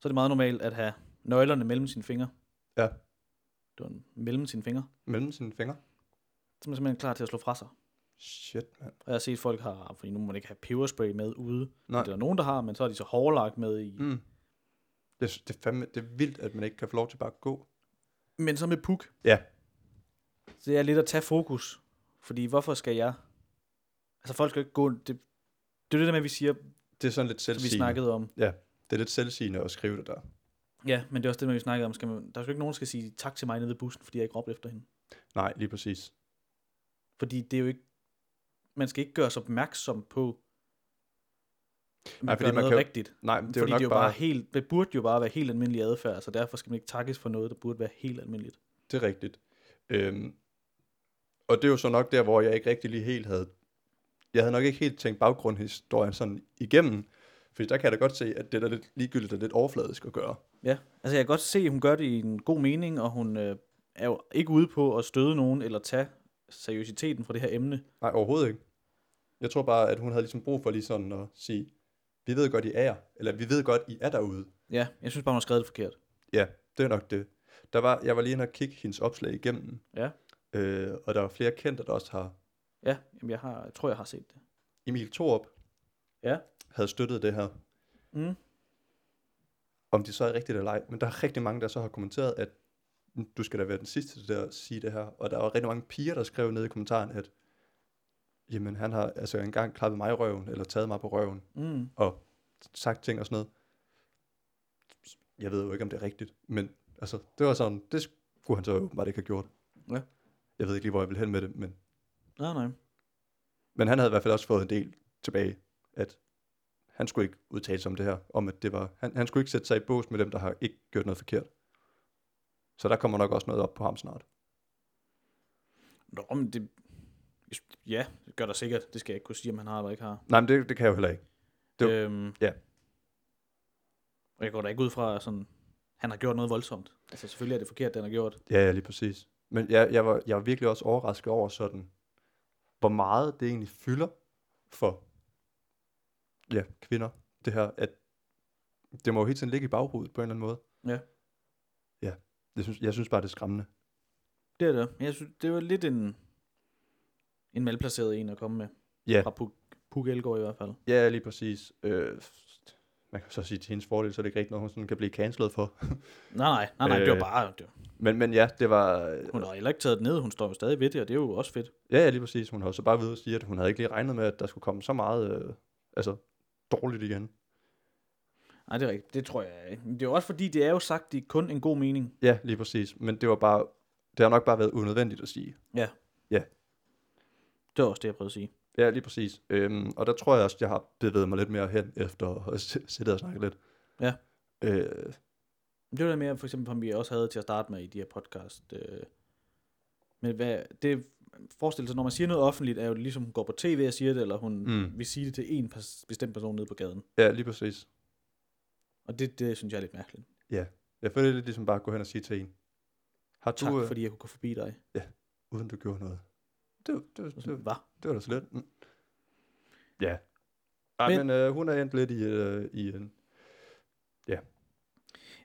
Speaker 3: så er det meget normalt at have nøglerne mellem sine fingre.
Speaker 2: Ja.
Speaker 3: Det var en- mellem sine fingre.
Speaker 2: Mellem sine fingre.
Speaker 3: Så er man simpelthen klar til at slå fra sig.
Speaker 2: Shit, mand.
Speaker 3: Og jeg har set folk har, fordi nu må man ikke have peberspray med ude.
Speaker 2: Nej.
Speaker 3: Nej. Det er der nogen, der har, men så er de så hårdlagt med i. Mm.
Speaker 2: Mm. Det, er- det, er fandme, det er vildt, at man ikke kan få lov til bare at gå.
Speaker 3: Men så med puk.
Speaker 2: Ja.
Speaker 3: Så det er lidt at tage fokus. Fordi hvorfor skal jeg? Altså folk skal jo ikke gå... Det, det er det der med, at vi siger,
Speaker 2: Det er sådan lidt
Speaker 3: vi
Speaker 2: selvsigende.
Speaker 3: snakkede om.
Speaker 2: Det er lidt selvsigende at skrive det der.
Speaker 3: Ja, men det er også det, med, vi snakkede om. Skal man, der skal ikke nogen, der skal sige tak til mig nede ved bussen, fordi jeg ikke råbte efter hende.
Speaker 2: Nej, lige præcis.
Speaker 3: Fordi det er jo ikke... Man skal ikke gøre sig opmærksom på, at man
Speaker 2: Nej,
Speaker 3: Nej,
Speaker 2: fordi man
Speaker 3: gør man noget
Speaker 2: kan
Speaker 3: kan...
Speaker 2: jo-
Speaker 3: rigtigt.
Speaker 2: Nej, men det er
Speaker 3: Fordi
Speaker 2: jo nok
Speaker 3: det, er jo
Speaker 2: bare...
Speaker 3: bare helt, det burde jo bare være helt almindelig adfærd, så derfor skal man ikke takkes for noget, der burde være helt almindeligt.
Speaker 2: Det er rigtigt. Øhm, og det er jo så nok der, hvor jeg ikke rigtig lige helt havde... Jeg havde nok ikke helt tænkt baggrundshistorien sådan igennem, Fordi der kan jeg da godt se, at det er da lidt ligegyldigt og lidt overfladisk at gøre.
Speaker 3: Ja, altså jeg kan godt se, at hun gør det i en god mening, og hun øh, er jo ikke ude på at støde nogen eller tage seriøsiteten fra det her emne.
Speaker 2: Nej, overhovedet ikke. Jeg tror bare, at hun havde ligesom brug for lige sådan at sige, vi ved godt, I er jer, eller vi ved godt, I er derude.
Speaker 3: Ja, jeg synes bare, hun har skrevet det forkert.
Speaker 2: Ja, det er nok det. Der var, jeg var lige inde og kigge hendes opslag igennem,
Speaker 3: Ja.
Speaker 2: øh, og der var flere kendte, der også har.
Speaker 3: Ja, jamen jeg, har, jeg tror, jeg har set det.
Speaker 2: Emil Thorup
Speaker 3: Ja.
Speaker 2: havde støttet det her.
Speaker 3: Mm.
Speaker 2: Om det så er rigtigt eller ej, men der er rigtig mange, der så har kommenteret, at du skal da være den sidste til at sige det her. Og der var rigtig mange piger, der skrev ned i kommentaren, at jamen, han har altså engang klappet mig i røven, eller taget mig på røven,
Speaker 3: Mm.
Speaker 2: og sagt ting og sådan noget. Jeg ved jo ikke, om det er rigtigt, men altså, det var sådan, det skulle han så åbenbart ikke have gjort.
Speaker 3: Ja.
Speaker 2: Jeg ved ikke lige, hvor jeg vil hen med det, men,
Speaker 3: Nej, nej.
Speaker 2: men han havde i hvert fald også fået en del tilbage, at han skulle ikke udtale sig om det her, om at det var, han, han skulle ikke sætte sig i bås med dem, der har ikke gjort noget forkert. Så der kommer nok også noget op på ham snart.
Speaker 3: Nå, men det... Ja, det gør der sikkert. Det skal jeg ikke kunne sige, om han har eller ikke har.
Speaker 2: Nej, men det, det kan jeg jo heller ikke. Det-
Speaker 3: øhm,
Speaker 2: ja.
Speaker 3: Og jeg går da ikke ud fra, at sådan, han har gjort noget voldsomt. Altså selvfølgelig er det forkert, den har gjort.
Speaker 2: Ja, ja, lige præcis. Men jeg, jeg, var, jeg var virkelig også overrasket over sådan, hvor meget det egentlig fylder for ja, kvinder, det her, at det må jo hele tiden ligge i baghovedet på en eller anden måde.
Speaker 3: Ja.
Speaker 2: Ja, det synes, jeg synes bare, det er skræmmende.
Speaker 3: Det er det. Jeg synes, det var lidt en, en malplaceret en at komme med.
Speaker 2: Ja.
Speaker 3: Fra Puk, Puk Elgård i hvert fald.
Speaker 2: Ja, lige præcis. Øh, man kan så sige, til hendes fordel, så er det ikke rigtigt noget, hun sådan kan blive cancelled for.
Speaker 3: Nej, nej, nej, nej det var
Speaker 2: Øh.
Speaker 3: bare... Det,
Speaker 2: Men, men ja, det var...
Speaker 3: hun har heller ikke taget det ned, hun står jo stadig ved det, og det er jo også fedt.
Speaker 2: Ja, ja, lige præcis. Hun har jo så bare ved at sige, at hun havde ikke lige regnet med, at der skulle komme så meget øh, altså, dårligt igen.
Speaker 3: Nej, det er rigtigt, det tror jeg ikke. Men Det er jo også fordi, det er jo sagt i kun en god mening.
Speaker 2: Ja, lige præcis. Men det var bare, det har nok bare været unødvendigt at sige.
Speaker 3: Ja.
Speaker 2: Ja.
Speaker 3: Det var også det, jeg prøvede at sige.
Speaker 2: Ja, lige præcis. Øhm, og der tror jeg også, jeg har bevæget mig lidt mere hen efter at have s- siddet og snakket lidt.
Speaker 3: Ja.
Speaker 2: Øh,
Speaker 3: Men Det var det mere, for eksempel, som vi også havde til at starte med i de her podcast. Øh, men hvad, det forestil sig, når man siger noget offentligt, er jo det ligesom, hun går på tv og siger det, eller hun
Speaker 2: Mm.
Speaker 3: mm. vil sige det til en pers- bestemt person nede på gaden.
Speaker 2: ja, lige præcis.
Speaker 3: Og det, det synes jeg er lidt mærkeligt.
Speaker 2: Jeg føler det er lidt ligesom bare at gå hen og sige til en, har du,
Speaker 3: Tak,
Speaker 2: øh,
Speaker 3: fordi jeg kunne gå forbi dig.
Speaker 2: uden du gjorde noget. Det, det, det, det,
Speaker 3: Hvad?
Speaker 2: var da slet. Mm. Ja. Ej, men,
Speaker 3: Men-
Speaker 2: men øh, hun er endt lidt i, øh, i en...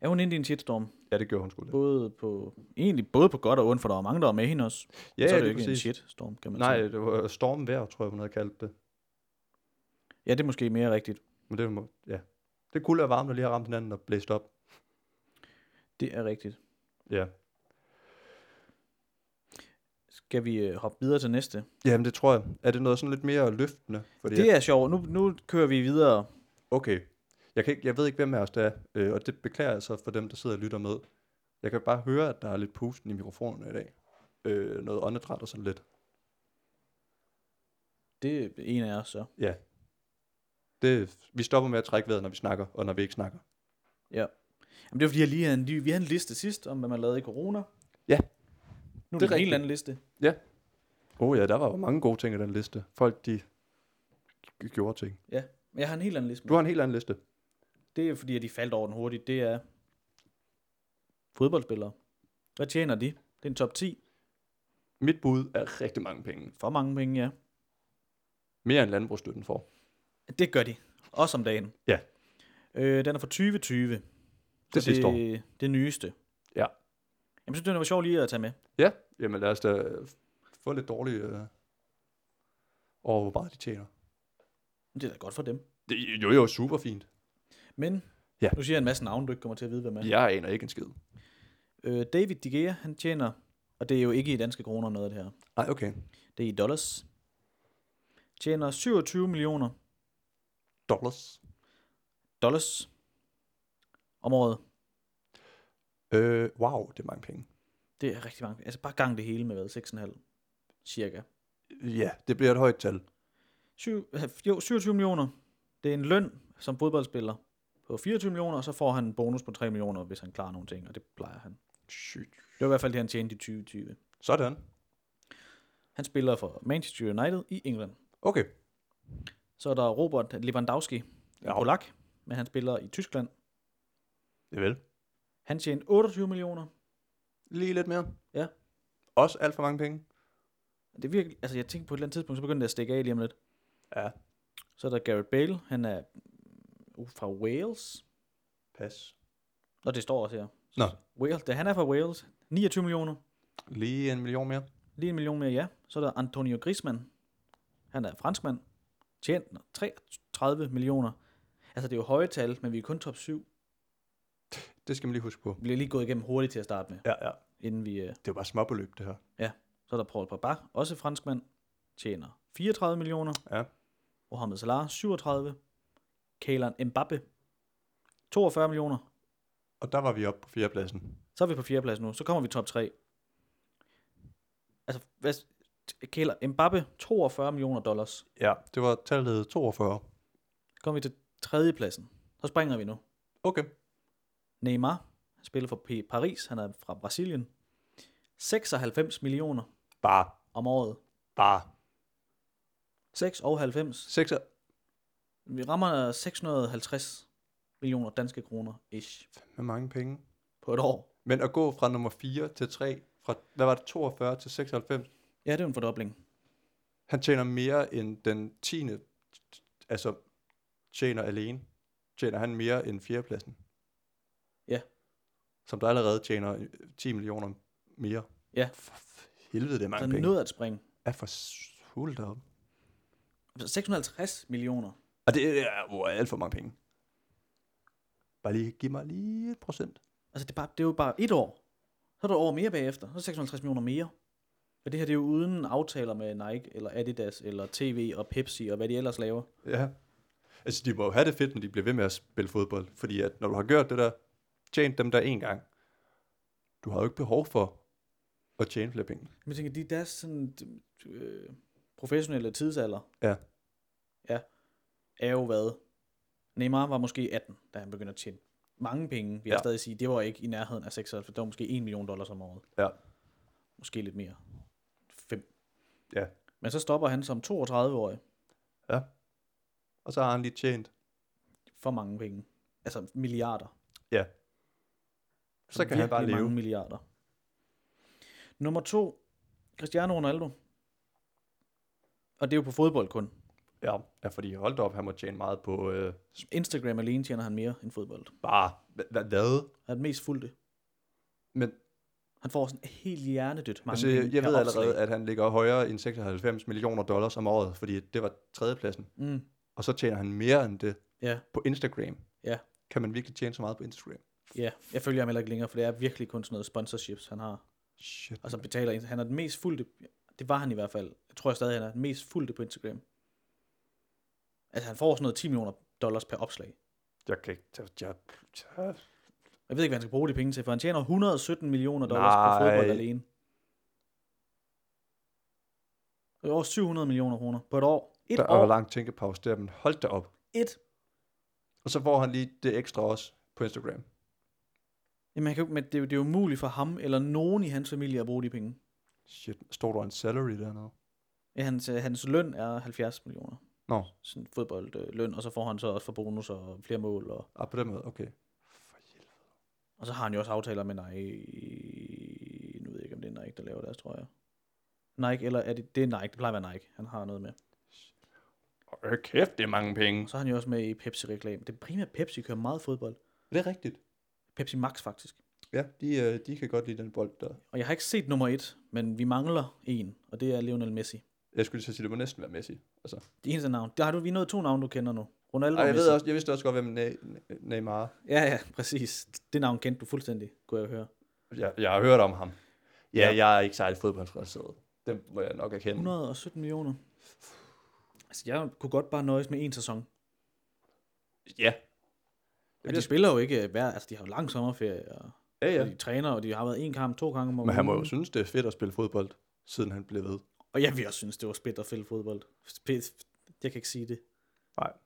Speaker 3: Er hun inde i en shitstorm?
Speaker 2: Ja, det gjorde hun sgu lidt.
Speaker 3: Både på, egentlig både på godt og ondt, for der var mange, der var med hende også.
Speaker 2: Ja,
Speaker 3: så er det jo
Speaker 2: lige
Speaker 3: ikke en
Speaker 2: præcis.
Speaker 3: shitstorm, kan man
Speaker 2: Nej,
Speaker 3: sige.
Speaker 2: det var stormvejr, tror jeg, hun havde kaldt det.
Speaker 3: Ja, det er måske mere rigtigt.
Speaker 2: Men det må, ja. Det kunne være varmt, der lige har ramt hinanden og blæst op.
Speaker 3: Det er rigtigt.
Speaker 2: Ja.
Speaker 3: Skal vi øh, hoppe videre til næste?
Speaker 2: Jamen, det tror jeg. Er det noget sådan lidt mere løftende? Fordi
Speaker 3: Det er sjovt. Nu, nu kører vi videre.
Speaker 2: Okay. Jeg, kan ikke, jeg ved ikke, hvem af os det er, øh, og det beklager jeg så for dem, der sidder og lytter med. Jeg kan bare høre, at der er lidt pusten i mikrofonerne i dag. Øh, noget åndedræt og sådan lidt.
Speaker 3: Det er en af os så.
Speaker 2: Ja. Det, vi stopper med at trække vejret, når vi snakker, og når vi ikke snakker.
Speaker 3: Jamen, det var fordi, jeg lige havde en, ny- vi havde en liste sidst, om hvad man lavede i corona.
Speaker 2: Ja.
Speaker 3: Nu er
Speaker 2: Det er
Speaker 3: det, det en
Speaker 2: rigtigt.
Speaker 3: helt anden liste.
Speaker 2: Oh ja, der var jo mange gode ting i den liste. Folk, de g- gjorde ting.
Speaker 3: Ja, men jeg har en helt anden liste. med.
Speaker 2: Du har en helt anden liste.
Speaker 3: Det er fordi, at de faldt over den hurtigt. Det er fodboldspillere. Hvad tjener de? Det er en top 10.
Speaker 2: Mit bud er rigtig mange penge.
Speaker 3: For mange penge, ja.
Speaker 2: Mere end landbrugsstøtten får.
Speaker 3: Det gør de. Også om dagen.
Speaker 2: Ja.
Speaker 3: Øh, den er fra 2020. Det
Speaker 2: Det sidste år.
Speaker 3: det, det nyeste.
Speaker 2: Ja.
Speaker 3: Jamen, synes, det var sjovt lige at tage med.
Speaker 2: Ja, jamen lad os da få lidt dårligt øh, over, hvor meget de tjener.
Speaker 3: Det er da godt for dem.
Speaker 2: Det er jo, jo super fint.
Speaker 3: Men
Speaker 2: Ja.
Speaker 3: ja. nu siger jeg en masse navne, du ikke kommer til at vide, hvem er.
Speaker 2: Jeg aner ikke en skid.
Speaker 3: Øh, David De Gea, han tjener, og det er jo ikke i danske kroner noget af det her,
Speaker 2: Nej, okay.
Speaker 3: det er i dollars, tjener 27 millioner
Speaker 2: Dollars.
Speaker 3: dollars om året.
Speaker 2: Øh, wow, det er mange penge.
Speaker 3: Det er rigtig mange. Altså bare gang det hele med hvad, 6,5 cirka.
Speaker 2: Ja, det bliver et højt tal.
Speaker 3: Syv, øh, jo, 27 millioner. Det er en løn som fodboldspiller på 24 millioner, og så får han en bonus på 3 millioner, hvis han klarer nogle ting, og det plejer han.
Speaker 2: Sygt.
Speaker 3: Det var i hvert fald det, han tjente i 2020.
Speaker 2: Sådan.
Speaker 3: Han spiller for Manchester United i England.
Speaker 2: Okay.
Speaker 3: Så er der Robert Lewandowski,
Speaker 2: Ja.
Speaker 3: ja. Polak. men han spiller i Tyskland.
Speaker 2: Det vel.
Speaker 3: Han tjente 28 millioner.
Speaker 2: Lige lidt mere.
Speaker 3: Ja.
Speaker 2: Også alt for mange penge.
Speaker 3: Det er virkelig, altså jeg tænkte på et eller andet tidspunkt, så begyndte det at stikke af lige om lidt.
Speaker 2: Ja.
Speaker 3: Så er der Garrett Bale, han er uh, fra Wales.
Speaker 2: Pas.
Speaker 3: Nå, det står også her.
Speaker 2: Nå.
Speaker 3: Wales, det, han er fra Wales. 29 millioner.
Speaker 2: Lige en million mere.
Speaker 3: Lige en million mere, ja. Så er der Antonio Griezmann. Han er franskmand. Tjent 33 millioner. Altså, det er jo høje tal, men vi er kun top 7.
Speaker 2: Det skal man lige huske på.
Speaker 3: Vi bliver lige gået igennem hurtigt til at starte med,
Speaker 2: Ja, ja.
Speaker 3: inden vi... øh,
Speaker 2: Det er jo bare småbeløb, det her.
Speaker 3: Så er der Paul Pogba, også franskmand. Tjener 34 millioner.
Speaker 2: Ja.
Speaker 3: Mohamed Salah, 37. Kaelan Mbappe, 42 millioner.
Speaker 2: Og der var vi oppe på fjerdepladsen.
Speaker 3: Så er vi på fjerdeplads nu. Så kommer vi top 3. Altså, hvad, Kaelan Mbappe, 42 millioner dollars.
Speaker 2: Ja. Det var tallet 42.
Speaker 3: Så kommer vi til tredjepladsen. Så springer vi nu.
Speaker 2: Okay.
Speaker 3: Neymar, han spiller for P- Paris, han er fra Brasilien. 96 millioner
Speaker 2: Bare.
Speaker 3: om året.
Speaker 2: Bare.
Speaker 3: 96.
Speaker 2: 6
Speaker 3: Vi rammer 650 millioner danske kroner ish
Speaker 2: med mange penge.
Speaker 3: på et år.
Speaker 2: Men at gå fra nummer 4 til 3, fra, hvad var det, 42 til 96,
Speaker 3: Ja, det er jo en fordobling.
Speaker 2: han tjener mere end den 10. Altså, tjener alene. Tjener han mere end fjerdepladsen.
Speaker 3: Ja.
Speaker 2: Som der allerede tjener øh, 10 millioner mere.
Speaker 3: Ja.
Speaker 2: For f- helvede, det er
Speaker 3: Så
Speaker 2: mange
Speaker 3: er
Speaker 2: penge.
Speaker 3: nødt at springe.
Speaker 2: Er for sult op.
Speaker 3: Altså, 650 millioner.
Speaker 2: Og det er jo alt for mange penge. Bare lige, giv mig lige et procent.
Speaker 3: Altså, det er, bare, det er jo bare et år. Så er der et år mere bagefter. Så er det 650 millioner mere. Og det her, det er jo uden aftaler med Nike, eller Adidas, eller TV og Pepsi, og hvad de ellers laver.
Speaker 2: Ja. Altså, de må jo have det fedt, når de bliver ved med at spille fodbold. Fordi at når du har gjort det der, tjent dem der en gang, du har jo ikke behov for at tjene flere penge.
Speaker 3: Men jeg tænker, de deres sådan, øh, professionelle tidsalder
Speaker 2: Ja.
Speaker 3: ja, er jo hvad? Neymar var måske 18, da han begyndte at tjene mange penge. Vi ja.
Speaker 2: Ja.
Speaker 3: stadig sige, det var ikke i nærheden af 96, det var måske 1 million dollars om året.
Speaker 2: Ja.
Speaker 3: Måske lidt mere. 5.
Speaker 2: Ja.
Speaker 3: Men så stopper han som 32-årig
Speaker 2: Og så har han lige tjent.
Speaker 3: for mange penge. Altså milliarder.
Speaker 2: Ja. Så kan han bare
Speaker 3: Virkelig
Speaker 2: leve.
Speaker 3: mange milliarder. Nummer to, Cristiano Ronaldo. Og det er jo på fodbold kun.
Speaker 2: Ja. ja, fordi hold da op, han må tjene meget på øh,
Speaker 3: Instagram alene tjener han mere end fodbold.
Speaker 2: bare, hva- hva- hvad?
Speaker 3: Han er den mest fulgte.
Speaker 2: Men
Speaker 3: Han får sådan helt hjernedødt mange
Speaker 2: altså, jeg,
Speaker 3: penge
Speaker 2: jeg
Speaker 3: per
Speaker 2: ved
Speaker 3: opslag.
Speaker 2: allerede, at han ligger højere end 96 millioner dollars om året, fordi det var tredjepladsen.
Speaker 3: Mm,
Speaker 2: Og så tjener han mere end det
Speaker 3: ja,
Speaker 2: på Instagram.
Speaker 3: Ja.
Speaker 2: Kan man virkelig tjene så meget på Instagram?
Speaker 3: ja. Jeg følger ham heller ikke længere, for det er virkelig kun sådan noget sponsorships, han har.
Speaker 2: Shit.
Speaker 3: Og så betaler Insta- Han er den mest fulgte... Det var han i hvert fald. Jeg tror jeg stadig, han er den mest fulgte på Instagram. Altså, han får sådan noget 10 millioner dollars per opslag.
Speaker 2: Jeg kan ikke tage... Jeg, jeg,
Speaker 3: Jeg ved ikke, hvad han skal bruge de penge til, for han tjener 117 millioner dollars på fodbold
Speaker 2: Nej.
Speaker 3: alene. Det er over 700 millioner kroner på et år. Et
Speaker 2: der er
Speaker 3: år.
Speaker 2: jo lang tænkepause der, men hold da op.
Speaker 3: Et.
Speaker 2: Og så får han lige det ekstra også på Instagram.
Speaker 3: Jamen, han kan, jo ikke- men det er, jo, det er jo umuligt for ham eller nogen i hans familie at bruge de penge.
Speaker 2: Shit, står der en salary dernede?
Speaker 3: Ja, hans, øh, hans løn er 70 millioner.
Speaker 2: Nå.
Speaker 3: Sådan fodboldløn, og så får han så også for bonus og flere mål. Og,
Speaker 2: Ah, på den måde, okay. For helvede.
Speaker 3: og så har han jo også aftaler med Nike. Nu ved jeg ikke, om det er Nike, der laver deres, tror jeg. Nike, eller er det, det er Nike, det plejer at være Nike, han har noget med.
Speaker 2: Øh, kæft, det er mange penge.
Speaker 3: Og så er han jo også med i Pepsi-reklame. Det er primært Pepsi, kører meget fodbold.
Speaker 2: Det er rigtigt.
Speaker 3: Pepsi Max faktisk.
Speaker 2: Ja, de, øh, de kan godt lide den bold der.
Speaker 3: Og jeg har ikke set nummer et, men vi mangler en, og det er Lionel Messi.
Speaker 2: Jeg skulle lige så sige, det må næsten være Messi. Altså.
Speaker 3: Det eneste navn. Der har du, vi er nået to navne, du kender nu. Ronaldo
Speaker 2: Ej,
Speaker 3: og
Speaker 2: jeg,
Speaker 3: Messi.
Speaker 2: ved også, jeg vidste også godt, hvem Ne- Ne- Neymar er.
Speaker 3: Ja, ja, præcis. Det navn kendte du fuldstændig, kunne jeg høre.
Speaker 2: Jeg, jeg har hørt om ham. Ja,
Speaker 3: Ja.
Speaker 2: ja. jeg er ikke særlig fodboldfrelseret. Det må jeg nok erkende.
Speaker 3: 117 millioner. Altså, jeg kunne godt bare nøjes med en sæson.
Speaker 2: Ja.
Speaker 3: Men de spiller jo ikke hver... Altså, de har jo lang sommerferie, og,
Speaker 2: Ja,
Speaker 3: ja. og
Speaker 2: ja.
Speaker 3: de træner, og de har været en kamp, to gange om
Speaker 2: Men han må jo
Speaker 3: ugen.
Speaker 2: synes, det er fedt at spille fodbold, siden han blev ved.
Speaker 3: Og jeg vil også synes, det var fedt at spille fodbold. Fedt. Jeg kan ikke sige det.
Speaker 2: Nej.
Speaker 3: Det...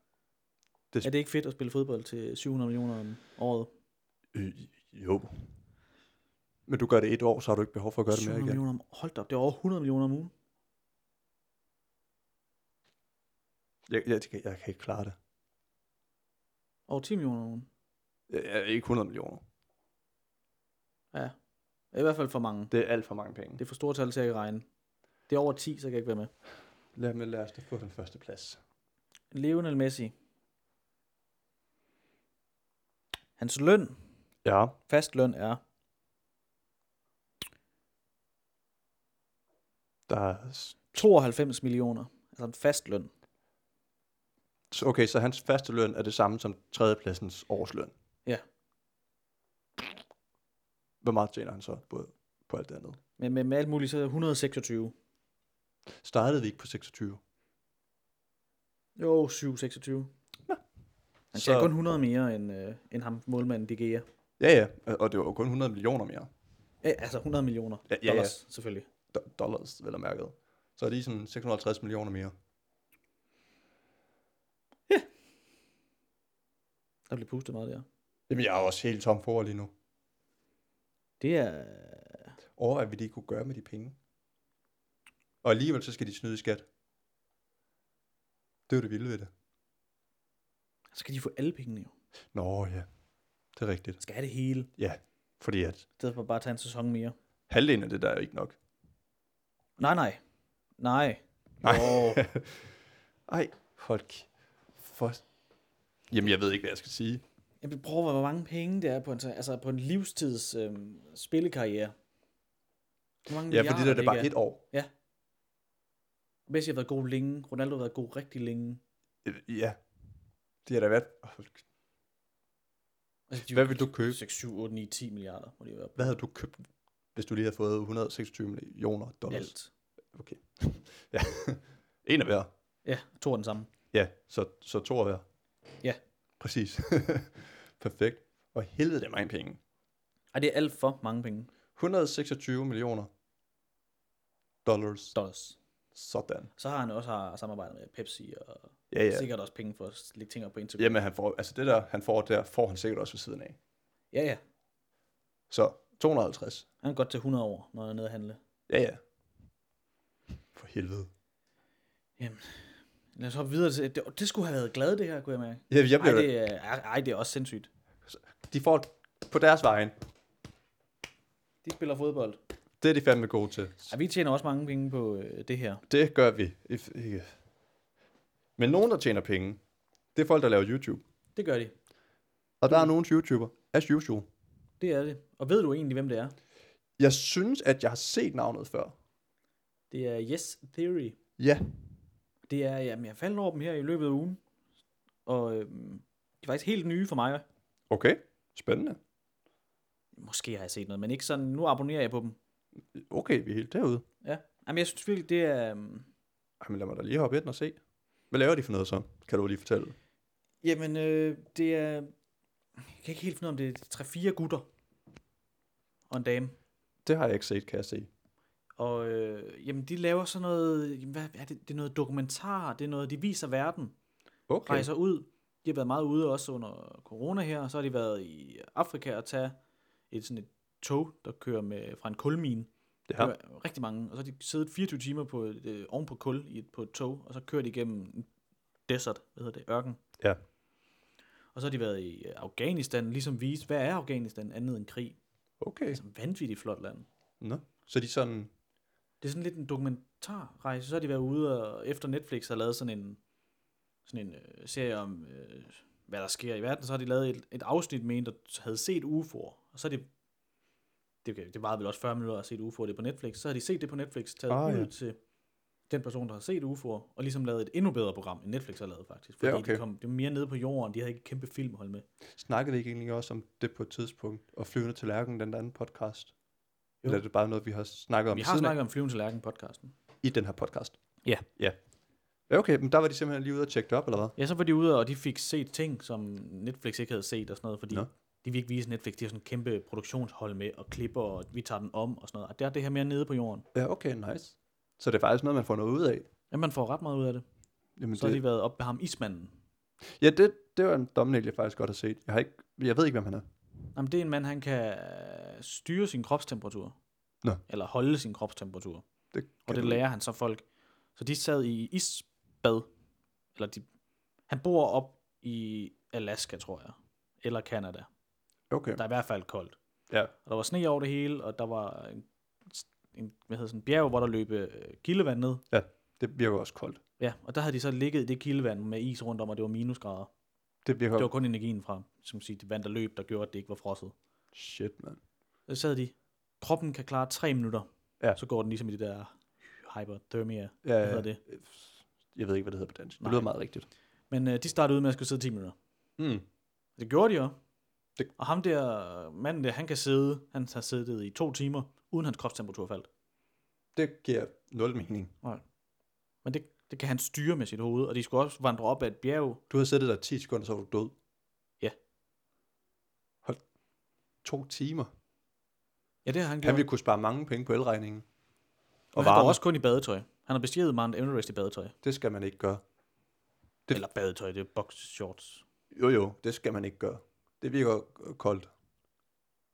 Speaker 2: Det-
Speaker 3: Er det ikke fedt at spille fodbold til 700 millioner om året?
Speaker 2: Øh, jo. Men du gør det et år, så har du ikke behov for at gøre det mere
Speaker 3: 700
Speaker 2: igen.
Speaker 3: millioner om... Hold da op, det er over 100 millioner om ugen.
Speaker 2: Jeg, jeg, jeg, jeg kan ikke klare det.
Speaker 3: Over 10 millioner om ugen.
Speaker 2: Øh, ikke 100 millioner.
Speaker 3: Ja. I hvert fald for mange.
Speaker 2: Det er alt for mange penge.
Speaker 3: Det er for store tal til, at jeg kan regne. Det er over 10, så kan jeg ikke være med.
Speaker 2: Lad, mig, lad os da få den første plads.
Speaker 3: Lionel Messi. Hans løn,
Speaker 2: Ja.
Speaker 3: fast løn er,
Speaker 2: Der er, s-
Speaker 3: 92 millioner. Altså en fast løn.
Speaker 2: okay, så hans faste løn er det samme som tredjepladsens årsløn.
Speaker 3: Ja.
Speaker 2: Hvor meget tjener han så både på alt det andet?
Speaker 3: Men med, med alt muligt, så er det 126.
Speaker 2: Startede vi ikke på 26?
Speaker 3: Jo, 726.
Speaker 2: Så-
Speaker 3: Han så... kun 100 mere end, øh, end ham, målmanden De Gea.
Speaker 2: Ja, ja, og- og det var jo kun 100 millioner mere.
Speaker 3: Ja, altså 100 millioner
Speaker 2: Ja, ja, ja.
Speaker 3: ja, ja, dollars, selvfølgelig.
Speaker 2: Do- dollars, vel og mærket. Så er det ligesom 650 millioner mere.
Speaker 3: Der blev pustet meget der.
Speaker 2: Jamen, jeg er også helt tom for ord lige nu.
Speaker 3: Det er...
Speaker 2: Overvej, hvad de kunne gøre med de penge. Og alligevel, så skal de snyde i skat. Det er jo det vilde ved det.
Speaker 3: Så kan de få alle pengene jo.
Speaker 2: Nå ja, det er rigtigt.
Speaker 3: Skal have det hele.
Speaker 2: Ja, fordi at
Speaker 3: I stedet for bare at tage en sæson mere.
Speaker 2: halvdelen af det der er jo ikke nok.
Speaker 3: Nej, nej. Nej.
Speaker 2: Nej.
Speaker 3: Jo.
Speaker 2: Ej, folk. For... Jamen, jeg ved ikke, hvad jeg skal sige.
Speaker 3: Jeg vil prøve, hvor mange penge det er på en, altså på en livstids øh, spillekarriere. Hvor mange
Speaker 2: Ja, fordi der er det
Speaker 3: milliarder
Speaker 2: bare
Speaker 3: ikke
Speaker 2: et år.
Speaker 3: Messi har været god længe. Ronaldo har været god rigtig længe.
Speaker 2: Øh, Ja, det har da været... Hold
Speaker 3: Altså,
Speaker 2: Hvad vil du købe?
Speaker 3: 6, 7, 8, 9, 10 milliarder må de være på.
Speaker 2: Hvad havde du købt, hvis du lige havde fået 126 millioner dollars?
Speaker 3: Alt.
Speaker 2: Okay. ja. En af hver.
Speaker 3: Ja, to af den samme.
Speaker 2: Ja, så, så to af hver.
Speaker 3: Ja.
Speaker 2: Præcis. Perfekt. Og helvede, det er mange penge.
Speaker 3: Ej, det er alt for mange penge.
Speaker 2: 126 millioner dollars.
Speaker 3: Dollars.
Speaker 2: Sådan.
Speaker 3: Så har han også har samarbejdet med Pepsi, og
Speaker 2: Ja,
Speaker 3: ja.
Speaker 2: ja.
Speaker 3: sikkert også penge for at lægge ting op på Instagram.
Speaker 2: Jamen, han får, altså det der, han får der, får han sikkert også ved siden af.
Speaker 3: Ja, ja.
Speaker 2: Så 250.
Speaker 3: Han er godt til 100 år, når han er nede at handle.
Speaker 2: Ja, ja. For helvede.
Speaker 3: Lad os hoppe videre til... Det, det skulle have været glad, det her, kunne jeg mærke.
Speaker 2: Ja, jeg
Speaker 3: Ej,
Speaker 2: bliver,
Speaker 3: det er, ej, det er også sindssygt.
Speaker 2: De får på deres vejen.
Speaker 3: De spiller fodbold.
Speaker 2: Det er de fandme gode til.
Speaker 3: Ej, vi tjener også mange penge på øh, det her.
Speaker 2: Det gør vi. If, ikke. Men nogen, der tjener penge, det er folk, der laver YouTube.
Speaker 3: Det gør de.
Speaker 2: Og der er nogle YouTuber, as usual.
Speaker 3: Det er det. Og ved du egentlig, hvem det er?
Speaker 2: Jeg synes, at jeg har set navnet før.
Speaker 3: Det er Yes Theory.
Speaker 2: Ja.
Speaker 3: Det er, jamen, jeg faldt over dem her i løbet af ugen. Og øhm, de er faktisk helt nye for mig.
Speaker 2: Okay. Spændende.
Speaker 3: Måske har jeg set noget, men ikke sådan, nu abonnerer jeg på dem.
Speaker 2: Okay, vi er helt derude.
Speaker 3: Ja. Jamen, jeg synes virkelig, det er... øhm,
Speaker 2: Jamen, lad mig da lige hoppe ind og se. Hvad laver de for noget så? Kan du lige fortælle?
Speaker 3: Jamen, øh, det er... Jeg kan ikke helt finde ud af, om det er 3-4 gutter. Og en dame.
Speaker 2: Det har jeg ikke set, kan jeg se.
Speaker 3: Og øh, jamen, de laver sådan noget... Jamen, hvad er det? Det er noget dokumentar. Det er noget, de viser verden.
Speaker 2: Okay.
Speaker 3: rejser ud. De har været meget ude også under corona her, og så har de været i Afrika og tage et sådan et tog, der kører med, fra en kulmine.
Speaker 2: Ja.
Speaker 3: Det var rigtig mange. Og så har de siddet 24 timer på et, øh, oven på kul i et, på et tog, og så kører de igennem en desert, hvad hedder det, ørken.
Speaker 2: Ja.
Speaker 3: Og så har de været i øh, Afghanistan, ligesom vise, hvad er Afghanistan andet end krig?
Speaker 2: Okay.
Speaker 3: Altså vanvittigt flot land.
Speaker 2: Nå. Så de sådan...
Speaker 3: Det er sådan lidt en dokumentarrejse. Så har de været ude og efter Netflix har lavet sådan en, sådan en øh, serie om, øh, hvad der sker i verden. Så har de lavet et, et afsnit med en, der havde set UFO'er. Og så er det, det, kan- det varede vel også 40 minutter at se et UFO, det er på Netflix. Så har de set det på Netflix, taget
Speaker 2: Ah,
Speaker 3: ah, ud
Speaker 2: ja.
Speaker 3: til den person, der har set UFO'er, og ligesom lavet et endnu bedre program, end Netflix har lavet faktisk.
Speaker 2: Ja,
Speaker 3: Fordi ja, okay.
Speaker 2: okay.
Speaker 3: de, kom, de var mere nede på jorden, de havde ikke et kæmpe film at holde med.
Speaker 2: Snakkede vi ikke egentlig også om det på et tidspunkt? Og Flyvende til Lærken, den der anden podcast? Jo. Eller er det bare noget, vi har snakket om
Speaker 3: Vi
Speaker 2: ved
Speaker 3: har
Speaker 2: siden af?
Speaker 3: snakket om Flyvende Lærken podcasten.
Speaker 2: i den her podcast.
Speaker 3: Ja.
Speaker 2: Ja. Ja, okay, men der var de simpelthen lige ude og tjekke det op, eller hvad?
Speaker 3: Ja, så var de ude, og de fik set ting, som Netflix ikke havde set og sådan noget, fordi
Speaker 2: Nå.
Speaker 3: no. de vil ikke vise Netflix. De har sådan en kæmpe produktionshold med og klipper, og vi tager den om og sådan noget. Og der er det her mere nede på jorden.
Speaker 2: Ja, okay, nice. Så det er faktisk noget, man får noget ud af.
Speaker 3: Ja, man får ret meget ud af det.
Speaker 2: Jamen,
Speaker 3: Så har
Speaker 2: det,
Speaker 3: de været op med ham, Ismanden.
Speaker 2: Ja, det, det var en domnæl, jeg faktisk godt har set. Jeg, har ikke, jeg ved ikke, hvem han er.
Speaker 3: Jamen, det er en mand, han kan øh, styre sin kropstemperatur.
Speaker 2: Nå.
Speaker 3: Eller holde sin kropstemperatur.
Speaker 2: Det
Speaker 3: Og det
Speaker 2: du-
Speaker 3: lærer han så folk. Så de sad i isbad. Eller de, han bor op i Alaska, tror jeg. Eller Kanada.
Speaker 2: Okay.
Speaker 3: Der er i hvert fald koldt.
Speaker 2: Ja.
Speaker 3: Og der var sne over det hele, og der var en, en hvad hedder sådan, en bjerg, hvor der løb øh, kildevand ned.
Speaker 2: Det virker også koldt.
Speaker 3: Ja, og der havde de så ligget i det kildevand med is rundt om, og det var minusgrader.
Speaker 2: Det virker...
Speaker 3: Det var kun energien fra, som siger, det vand, der løb, der gjorde, at det ikke var frosset.
Speaker 2: Shit, mand.
Speaker 3: Så sad de, kroppen kan klare tre minutter.
Speaker 2: Ja.
Speaker 3: Så går den ligesom i det der hyperthermia.
Speaker 2: Ja, øh,
Speaker 3: Hvad hedder det?
Speaker 2: Jeg ved ikke, hvad det hedder på dansk. Det
Speaker 3: Nej.
Speaker 2: lyder meget rigtigt.
Speaker 3: Men øh, de startede ud med at skulle sidde 10 minutter.
Speaker 2: Mm.
Speaker 3: Det gjorde de også.
Speaker 2: Det-
Speaker 3: Og ham der manden der, han kan sidde, han har siddet i to timer, uden hans kropstemperatur faldt.
Speaker 2: Det giver nul mening.
Speaker 3: Men det, det kan han styre med sit hoved, og de skulle også vandre op ad et bjerg.
Speaker 2: Du havde siddet der 10 sekunder, så var du død.
Speaker 3: Ja.
Speaker 2: Hold. To timer.
Speaker 3: Ja, det har han gjort.
Speaker 2: Han ville kunne spare mange penge på elregningen.
Speaker 3: og
Speaker 2: Og
Speaker 3: han
Speaker 2: varme.
Speaker 3: går også kun i badetøj. Han har bestiget Mount Everest i badetøj.
Speaker 2: Det skal man ikke gøre.
Speaker 3: Det... Eller badetøj, det er boxshorts.
Speaker 2: Jo, jo, det skal man ikke gøre. Det virker øh, koldt.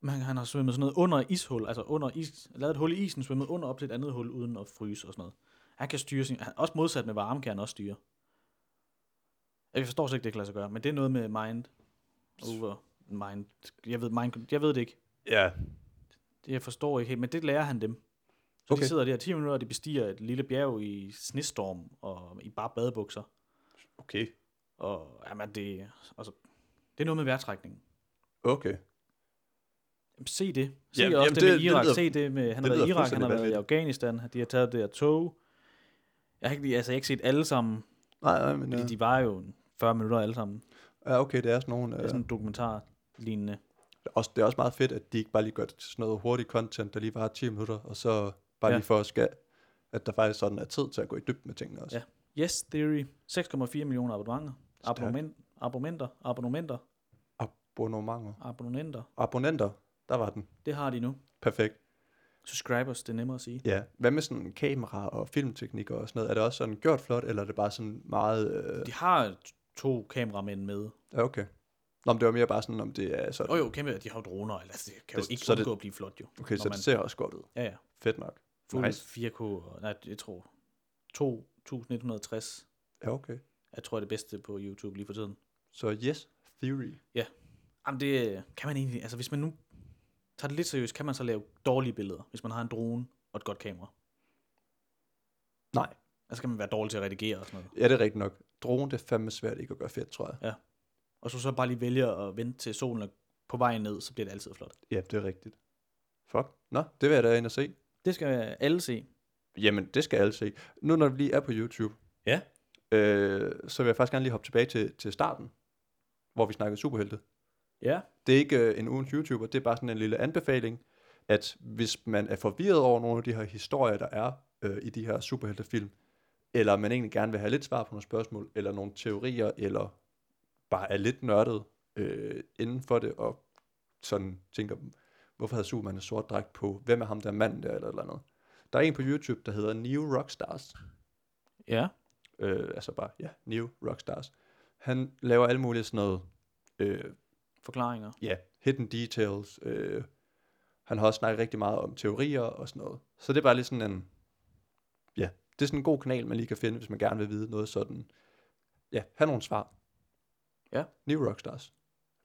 Speaker 3: Men han har svømmet sådan noget under ishul, altså under is, lavet et hul i isen, svømmet under op til et andet hul, uden at fryse og sådan noget. Han kan styre sin, han, også modsat med varme, kan han også styre. Jeg forstår slet ikke, det kan lade sig gøre, men det er noget med mind over mind. Jeg ved, mind, jeg ved det ikke.
Speaker 2: Ja.
Speaker 3: Det jeg forstår ikke helt, men det lærer han dem. Så okay.
Speaker 2: Okay.
Speaker 3: de sidder der 10 minutter, og de bestiger et lille bjerg i snestorm og i bare badebukser.
Speaker 2: Okay.
Speaker 3: Og jamen, det, altså, det er noget med vejrtrækningen.
Speaker 2: Okay.
Speaker 3: Jamen, Se det. Se
Speaker 2: Jamen,
Speaker 3: jamen, også
Speaker 2: jamen,
Speaker 3: det,
Speaker 2: det-
Speaker 3: det med
Speaker 2: det
Speaker 3: Irak.
Speaker 2: lyder-
Speaker 3: Se det med, han har
Speaker 2: det
Speaker 3: været i
Speaker 2: lyder
Speaker 3: Irak, han har
Speaker 2: fuldstændig
Speaker 3: været i Afghanistan, de har taget det her tog. Jeg har ikke, lige- altså, jeg har ikke set alle sammen,
Speaker 2: Nej, nej, men...
Speaker 3: fordi
Speaker 2: øh,
Speaker 3: de var jo en 40 minutter alle sammen. Det
Speaker 2: Ja, okay, det er sådan nogle...
Speaker 3: er
Speaker 2: øh,
Speaker 3: sådan en dokumentar lignende.
Speaker 2: også, det er også meget fedt, at de ikke bare lige gør det til sådan noget hurtigt content, der lige varer 10 minutter, og så bare
Speaker 3: Ja.
Speaker 2: ja. lige for at skal, at der faktisk sådan er tid til at gå i dybden med tingene også.
Speaker 3: Ja. Yes Theory, 6,4 millioner abonnementer. Abonnement, abonnementer, abonnementer,
Speaker 2: Abonnementer.
Speaker 3: abonnementer.
Speaker 2: Abonnenter, der var den.
Speaker 3: Det har de nu.
Speaker 2: Perfekt.
Speaker 3: Subscribers, det er nemmere at sige.
Speaker 2: Ja. Hvad med sådan kamera og filmteknik og sådan noget? Er det også sådan gjort flot, eller er det bare sådan meget... Øh...
Speaker 3: De har to kameramænd med.
Speaker 2: Ja, okay. Nå, men det var mere bare sådan, om det er sådan...
Speaker 3: Og jo, kæmpe, de har jo droner. Altså, det kan jo
Speaker 2: Det-
Speaker 3: ikke
Speaker 2: så er det-
Speaker 3: undgå at blive flot, jo.
Speaker 2: Okay,
Speaker 3: når
Speaker 2: så
Speaker 3: man-
Speaker 2: det ser også godt ud.
Speaker 3: Ja, ja.
Speaker 2: Fedt nok.
Speaker 3: Fuld
Speaker 2: Nice.
Speaker 3: 4K, og- nej, jeg tror 2160
Speaker 2: Ja, okay.
Speaker 3: jeg tror er det bedste på YouTube lige for tiden.
Speaker 2: Så yes, theory.
Speaker 3: Jamen det øh, kan man egentlig, altså hvis man nu tager det lidt seriøst, kan man så lave dårlige billeder, hvis man har en drone og et godt kamera.
Speaker 2: Nej.
Speaker 3: Altså kan man være dårlig til at redigere og sådan noget.
Speaker 2: Ja, det er rigtigt nok. Drone, det er fandme svært ikke at gøre fedt, tror jeg.
Speaker 3: Og så så bare lige vælger at vente til solen er på vej ned, så bliver det altid flot.
Speaker 2: Ja, det er rigtigt. Fuck. Nå, det vil jeg da ind og se.
Speaker 3: Det skal alle se.
Speaker 2: Jamen, det skal alle se. Nu når vi lige er på YouTube,
Speaker 3: Ja.
Speaker 2: øh, så vil jeg faktisk gerne lige hoppe tilbage til, til starten, hvor vi snakkede superhelte.
Speaker 3: Ja,
Speaker 2: Det er ikke øh, en ugens YouTuber, det er bare sådan en lille anbefaling, at hvis man er forvirret over nogle af de her historier, der er øh, i de her superheltefilm, eller man egentlig gerne vil have lidt svar på nogle spørgsmål, eller nogle teorier, eller bare er lidt nørdet øh, inden for det, og sådan tænker, hvorfor havde Superman en sort dragt på? Hvem er ham der mand der, eller et eller andet? Der er en på YouTube, der hedder New Rockstars,
Speaker 3: ja,
Speaker 2: øh, altså bare, ja, New Rockstars. Han laver alle mulige sådan noget, øh,
Speaker 3: forklaringer.
Speaker 2: ja, hidden details. Øh, han har også snakket rigtig meget om teorier og sådan noget. Så det er bare lige sådan en, ja, det er sådan en god kanal, man lige kan finde, hvis man gerne vil vide noget sådan. Ja, have nogle svar.
Speaker 3: Ja.
Speaker 2: New Rockstars.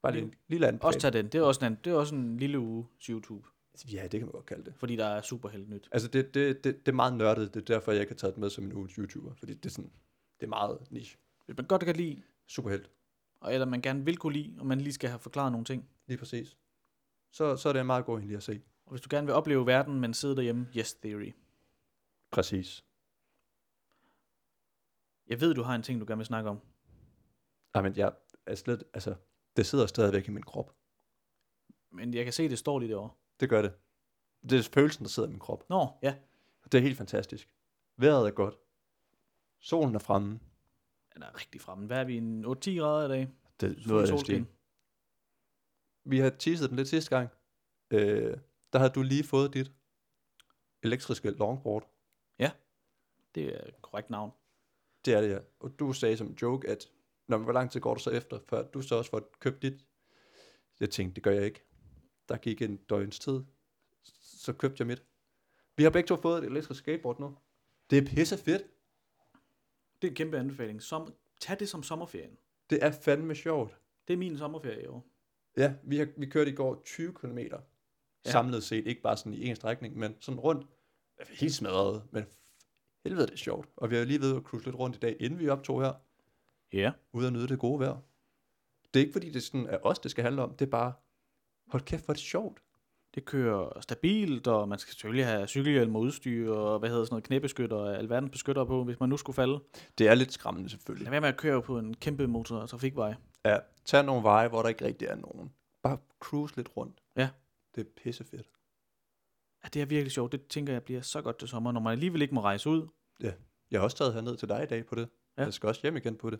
Speaker 2: Bare lige
Speaker 3: New-
Speaker 2: en lille
Speaker 3: Også
Speaker 2: anbefaling.
Speaker 3: tag den, det er også en, det er også en lille uge YouTube,
Speaker 2: Ja, det kan man godt kalde det.
Speaker 3: fordi der er superhelt nyt.
Speaker 2: Altså, det, det, det, det er meget nørdet. Det er derfor, jeg ikke har taget det med som en ugens YouTuber. Fordi det er sådan, det er meget niche.
Speaker 3: Hvis man godt kan lide
Speaker 2: Superhelt.
Speaker 3: og eller man gerne vil kunne lide, og man lige skal have forklaret nogle ting.
Speaker 2: Lige præcis. Så, så er det en meget god en lige at se.
Speaker 3: Og hvis du gerne vil opleve verden, men sidder derhjemme, yes theory.
Speaker 2: Præcis.
Speaker 3: Jeg ved, du har en ting, du gerne vil snakke om.
Speaker 2: Ej, men jeg er slet, altså, det sidder stadigvæk i min krop.
Speaker 3: Men jeg kan se, det står lige derovre.
Speaker 2: Det gør det. Det er følelsen, der sidder i min krop.
Speaker 3: Nå, ja.
Speaker 2: Det er helt fantastisk. Vejret er godt. Solen er fremme.
Speaker 3: Den er rigtig fremme. Hvad er vi? En 8-10 grader i dag?
Speaker 2: Det er
Speaker 3: Fuld
Speaker 2: noget af den
Speaker 3: solskin.
Speaker 2: stil. Vi har teaset den lidt sidste gang. Øh, der havde du lige fået dit elektriske longboard.
Speaker 3: Det er et korrekt navn.
Speaker 2: Det er det, ja. Og du sagde som en joke, at når hvor lang tid går du så efter, før du så også får købt dit? Jeg tænkte, det gør jeg ikke. Der gik en døgns tid, så købte jeg mit. Vi har begge to fået et elektrisk skateboard nu. Det er pisse fedt.
Speaker 3: Det er en kæmpe anbefaling. Som, tag det som sommerferien.
Speaker 2: Det er fandme sjovt.
Speaker 3: Det er min sommerferie i år.
Speaker 2: Ja, vi, har, vi kørte i går 20 km
Speaker 3: Ja.
Speaker 2: ja. samlet set. Ikke bare sådan i en strækning, men sådan rundt. Jeg var Helt smadret, men helvede det er sjovt. Og vi har jo lige ved at cruise lidt rundt i dag, inden vi optog her,
Speaker 3: Ja.
Speaker 2: ude at nyde det gode vejr. Det er ikke fordi, det sådan er os, det skal handle om. Det er bare, hold kæft, hvor er det sjovt.
Speaker 3: Det kører stabilt, og man skal selvfølgelig have cykelhjelm og udstyr, og hvad hedder sådan noget, knæbeskytter og alverdens beskytter på, hvis man nu skulle falde.
Speaker 2: Det er lidt skræmmende selvfølgelig.
Speaker 3: Lad være med at køre på en kæmpe motor- og trafikvej.
Speaker 2: Ja, tag nogle veje, hvor der ikke rigtig er nogen. Bare cruise lidt rundt.
Speaker 3: Ja.
Speaker 2: Det er pissefedt.
Speaker 3: Ja, det er virkelig sjovt. Det tænker jeg bliver så godt til sommer, når man alligevel ikke må rejse ud.
Speaker 2: Jeg har også taget herned til dig i dag på det.
Speaker 3: Ja.
Speaker 2: Ja. Jeg skal også hjem igen på det.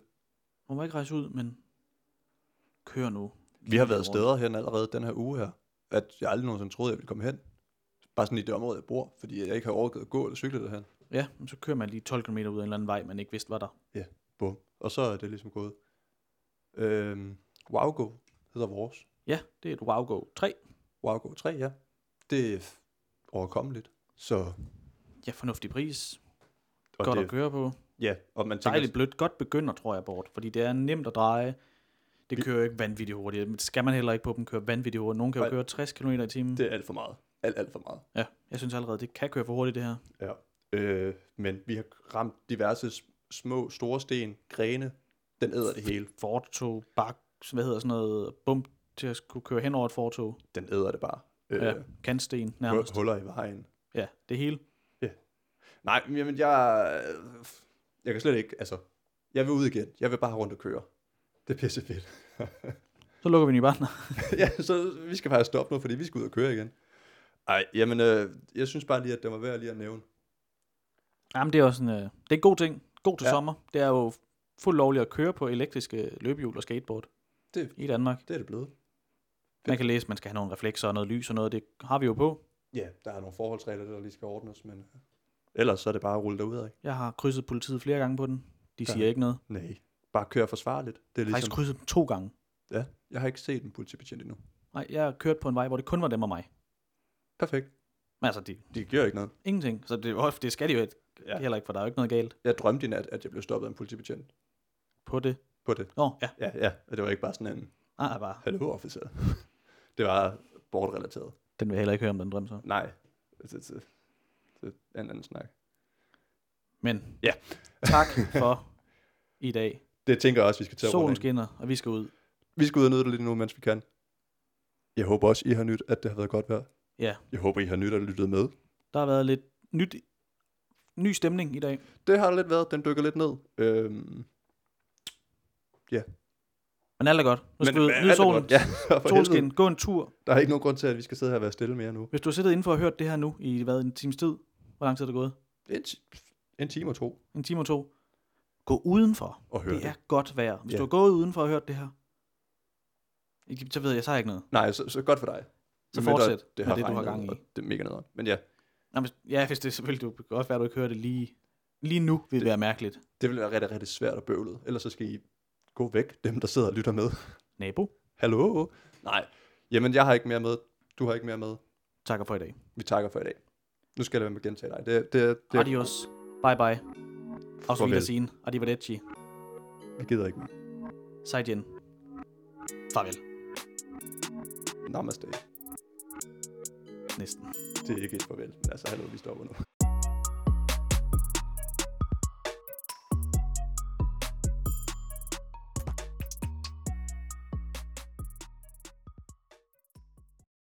Speaker 3: Man må ikke rejse ud, men kør nu.
Speaker 2: Vi har
Speaker 3: Kig
Speaker 2: været
Speaker 3: rundt.
Speaker 2: steder hen allerede den her uge her, at jeg aldrig nogensinde troede, jeg ville komme hen. Bare sådan i det område, jeg bor, fordi jeg ikke har overgivet at gå eller cykle derhen.
Speaker 3: Ja, men så kører man lige 12 km ud af en eller anden vej, man ikke vidste, var der.
Speaker 2: Bum. Og så er det ligesom gået. Øhm, Wowgo hedder vores.
Speaker 3: Ja, det er et WowGo 3.
Speaker 2: Wowgo 3, ja. Det er f- overkommeligt. Så, og
Speaker 3: Ja, fornuftig pris. godt
Speaker 2: det,
Speaker 3: at køre på.
Speaker 2: Ja, og man tænker,
Speaker 3: Dejligt blødt. Godt begynder, tror jeg, bort. Fordi det er nemt at dreje. Det kører jo ikke vanvittigt hurtigt. Men det skal man heller ikke på dem køre vanvittigt hurtigt. Nogen kan jo
Speaker 2: Nej.
Speaker 3: køre 60 km i timen.
Speaker 2: det er alt for meget. Alt, alt for meget.
Speaker 3: Ja, jeg synes allerede, det kan køre for hurtigt, det her.
Speaker 2: Ja. Øh, men vi har ramt diverse s- små, store sten, grene. Den æder det hele.
Speaker 3: Fortog, bak, hvad hedder sådan noget, bump til at skulle køre hen over et fortog.
Speaker 2: Den æder det bare. Øh,
Speaker 3: Ja, kantsten nærmest.
Speaker 2: hu- huller i vejen.
Speaker 3: Ja, det hele.
Speaker 2: Nej, men jamen, jeg, øh, jeg kan slet ikke, altså, jeg vil ud igen. Jeg vil bare rundt og køre. Det er pisse fedt.
Speaker 3: Så lukker vi den i barn.
Speaker 2: ja, så vi skal faktisk stoppe nu, fordi vi skal ud og køre igen. Ej, jamen, øh, jeg synes bare lige, at det var værd lige at nævne.
Speaker 3: Jamen, det er også en, øh, det er en god ting. God til ja.
Speaker 2: Ja.
Speaker 3: sommer. Det er jo fuldt lovligt at køre på elektriske løbehjul og skateboard
Speaker 2: Det-
Speaker 3: i Danmark.
Speaker 2: Det er det blevet.
Speaker 3: Man kan læse, at man skal have nogle reflekser og noget lys og noget. Det har vi jo på.
Speaker 2: Ja, der er nogle forholdsregler, der lige skal ordnes, men øh, ellers så er det bare at rulle derud, ikke?
Speaker 3: Jeg har krydset politiet flere gange på den. De
Speaker 2: Ja.
Speaker 3: siger ja. ikke noget.
Speaker 2: Nej, bare køre forsvarligt. Det er
Speaker 3: Jeg har faktisk
Speaker 2: ligesom,
Speaker 3: krydset dem to gange.
Speaker 2: ja, jeg har ikke set en politibetjent endnu.
Speaker 3: Nej, jeg har kørt på en vej, hvor det kun var dem og mig.
Speaker 2: Perfekt.
Speaker 3: Men altså, de,
Speaker 2: De gør ikke noget.
Speaker 3: ingenting. Så det, oh, det skal de jo ikke.
Speaker 2: Ja.
Speaker 3: Ja. heller ikke, for der er jo ikke noget galt
Speaker 2: Jeg drømte i nat, at jeg blev stoppet af en politibetjent
Speaker 3: på det.
Speaker 2: på det.
Speaker 3: Nå, ja.
Speaker 2: Ja, ja, og det var ikke bare sådan en,
Speaker 3: Nej, nej, bare.
Speaker 2: hallo officer. det var bortrelateret.
Speaker 3: Den vil jeg heller ikke høre om den drøm så.
Speaker 2: Nej, det, det, det, det er en anden snak.
Speaker 3: Men
Speaker 2: Ja.
Speaker 3: tak for i dag.
Speaker 2: Det tænker jeg også, vi skal tage
Speaker 3: Solen
Speaker 2: rundt af.
Speaker 3: skinner, og vi skal ud.
Speaker 2: Vi skal ud og nyde det lidt nu, mens vi kan. Jeg håber også, I har nyt, at det har været godt vejr.
Speaker 3: Ja.
Speaker 2: Jeg håber, I har nyt at lyttet med.
Speaker 3: Der har været lidt nyt, ny stemning i dag.
Speaker 2: Det har der lidt været. Den dykker lidt ned. Øhm,
Speaker 3: Men alt er godt. Nu skal
Speaker 2: men-
Speaker 3: du
Speaker 2: men alt
Speaker 3: nyde
Speaker 2: er
Speaker 3: solen.
Speaker 2: godt. Ja, for
Speaker 3: Solskin,
Speaker 2: helvede.
Speaker 3: gå en tur.
Speaker 2: Der er ikke nogen grund til, at vi skal sidde her og være stille mere nu.
Speaker 3: Hvis du har siddet indenfor og hørt det her nu i hvad, en times tid, hvor lang tid er det gået?
Speaker 2: En, ti- en time og to.
Speaker 3: En time og to. Gå udenfor.
Speaker 2: Og høre
Speaker 3: det er godt vejr. Hvis
Speaker 2: Ja.
Speaker 3: du har gået udenfor og hørt det her, ikke- så ved jeg, så har jeg ikke noget.
Speaker 2: Nej, så, så godt for dig.
Speaker 3: Så
Speaker 2: Medmindre
Speaker 3: fortsæt med det, du
Speaker 2: regnet,
Speaker 3: har gang i.
Speaker 2: og Det er mega nederen. Men ja,
Speaker 3: Nå, hvis, ja, hvis det er selvfølgelig, du kan godt være, at du ikke hører det lige, lige nu, vil det, være mærkeligt.
Speaker 2: det vil være rigtig, rigtig svært og bøvlet. Ellers så skal I gå væk, dem der sidder og lytter med.
Speaker 3: Nabo,
Speaker 2: Hallo? Nej. Jamen, jeg har ikke mere med. Du har ikke mere med.
Speaker 3: takker for i dag.
Speaker 2: Vi takker for i dag. Nu skal jeg lade være med at gentage dig. Det, det, det,
Speaker 3: Adios. Bye bye. Auf
Speaker 2: Farvel.
Speaker 3: Wiedersehen. Arrivederci.
Speaker 2: Jeg gider ikke mere.
Speaker 3: Seid jen. Farvel.
Speaker 2: Namaste.
Speaker 3: Næsten.
Speaker 2: Det er ikke et farvel. men Altså, hallo, vi stopper nu.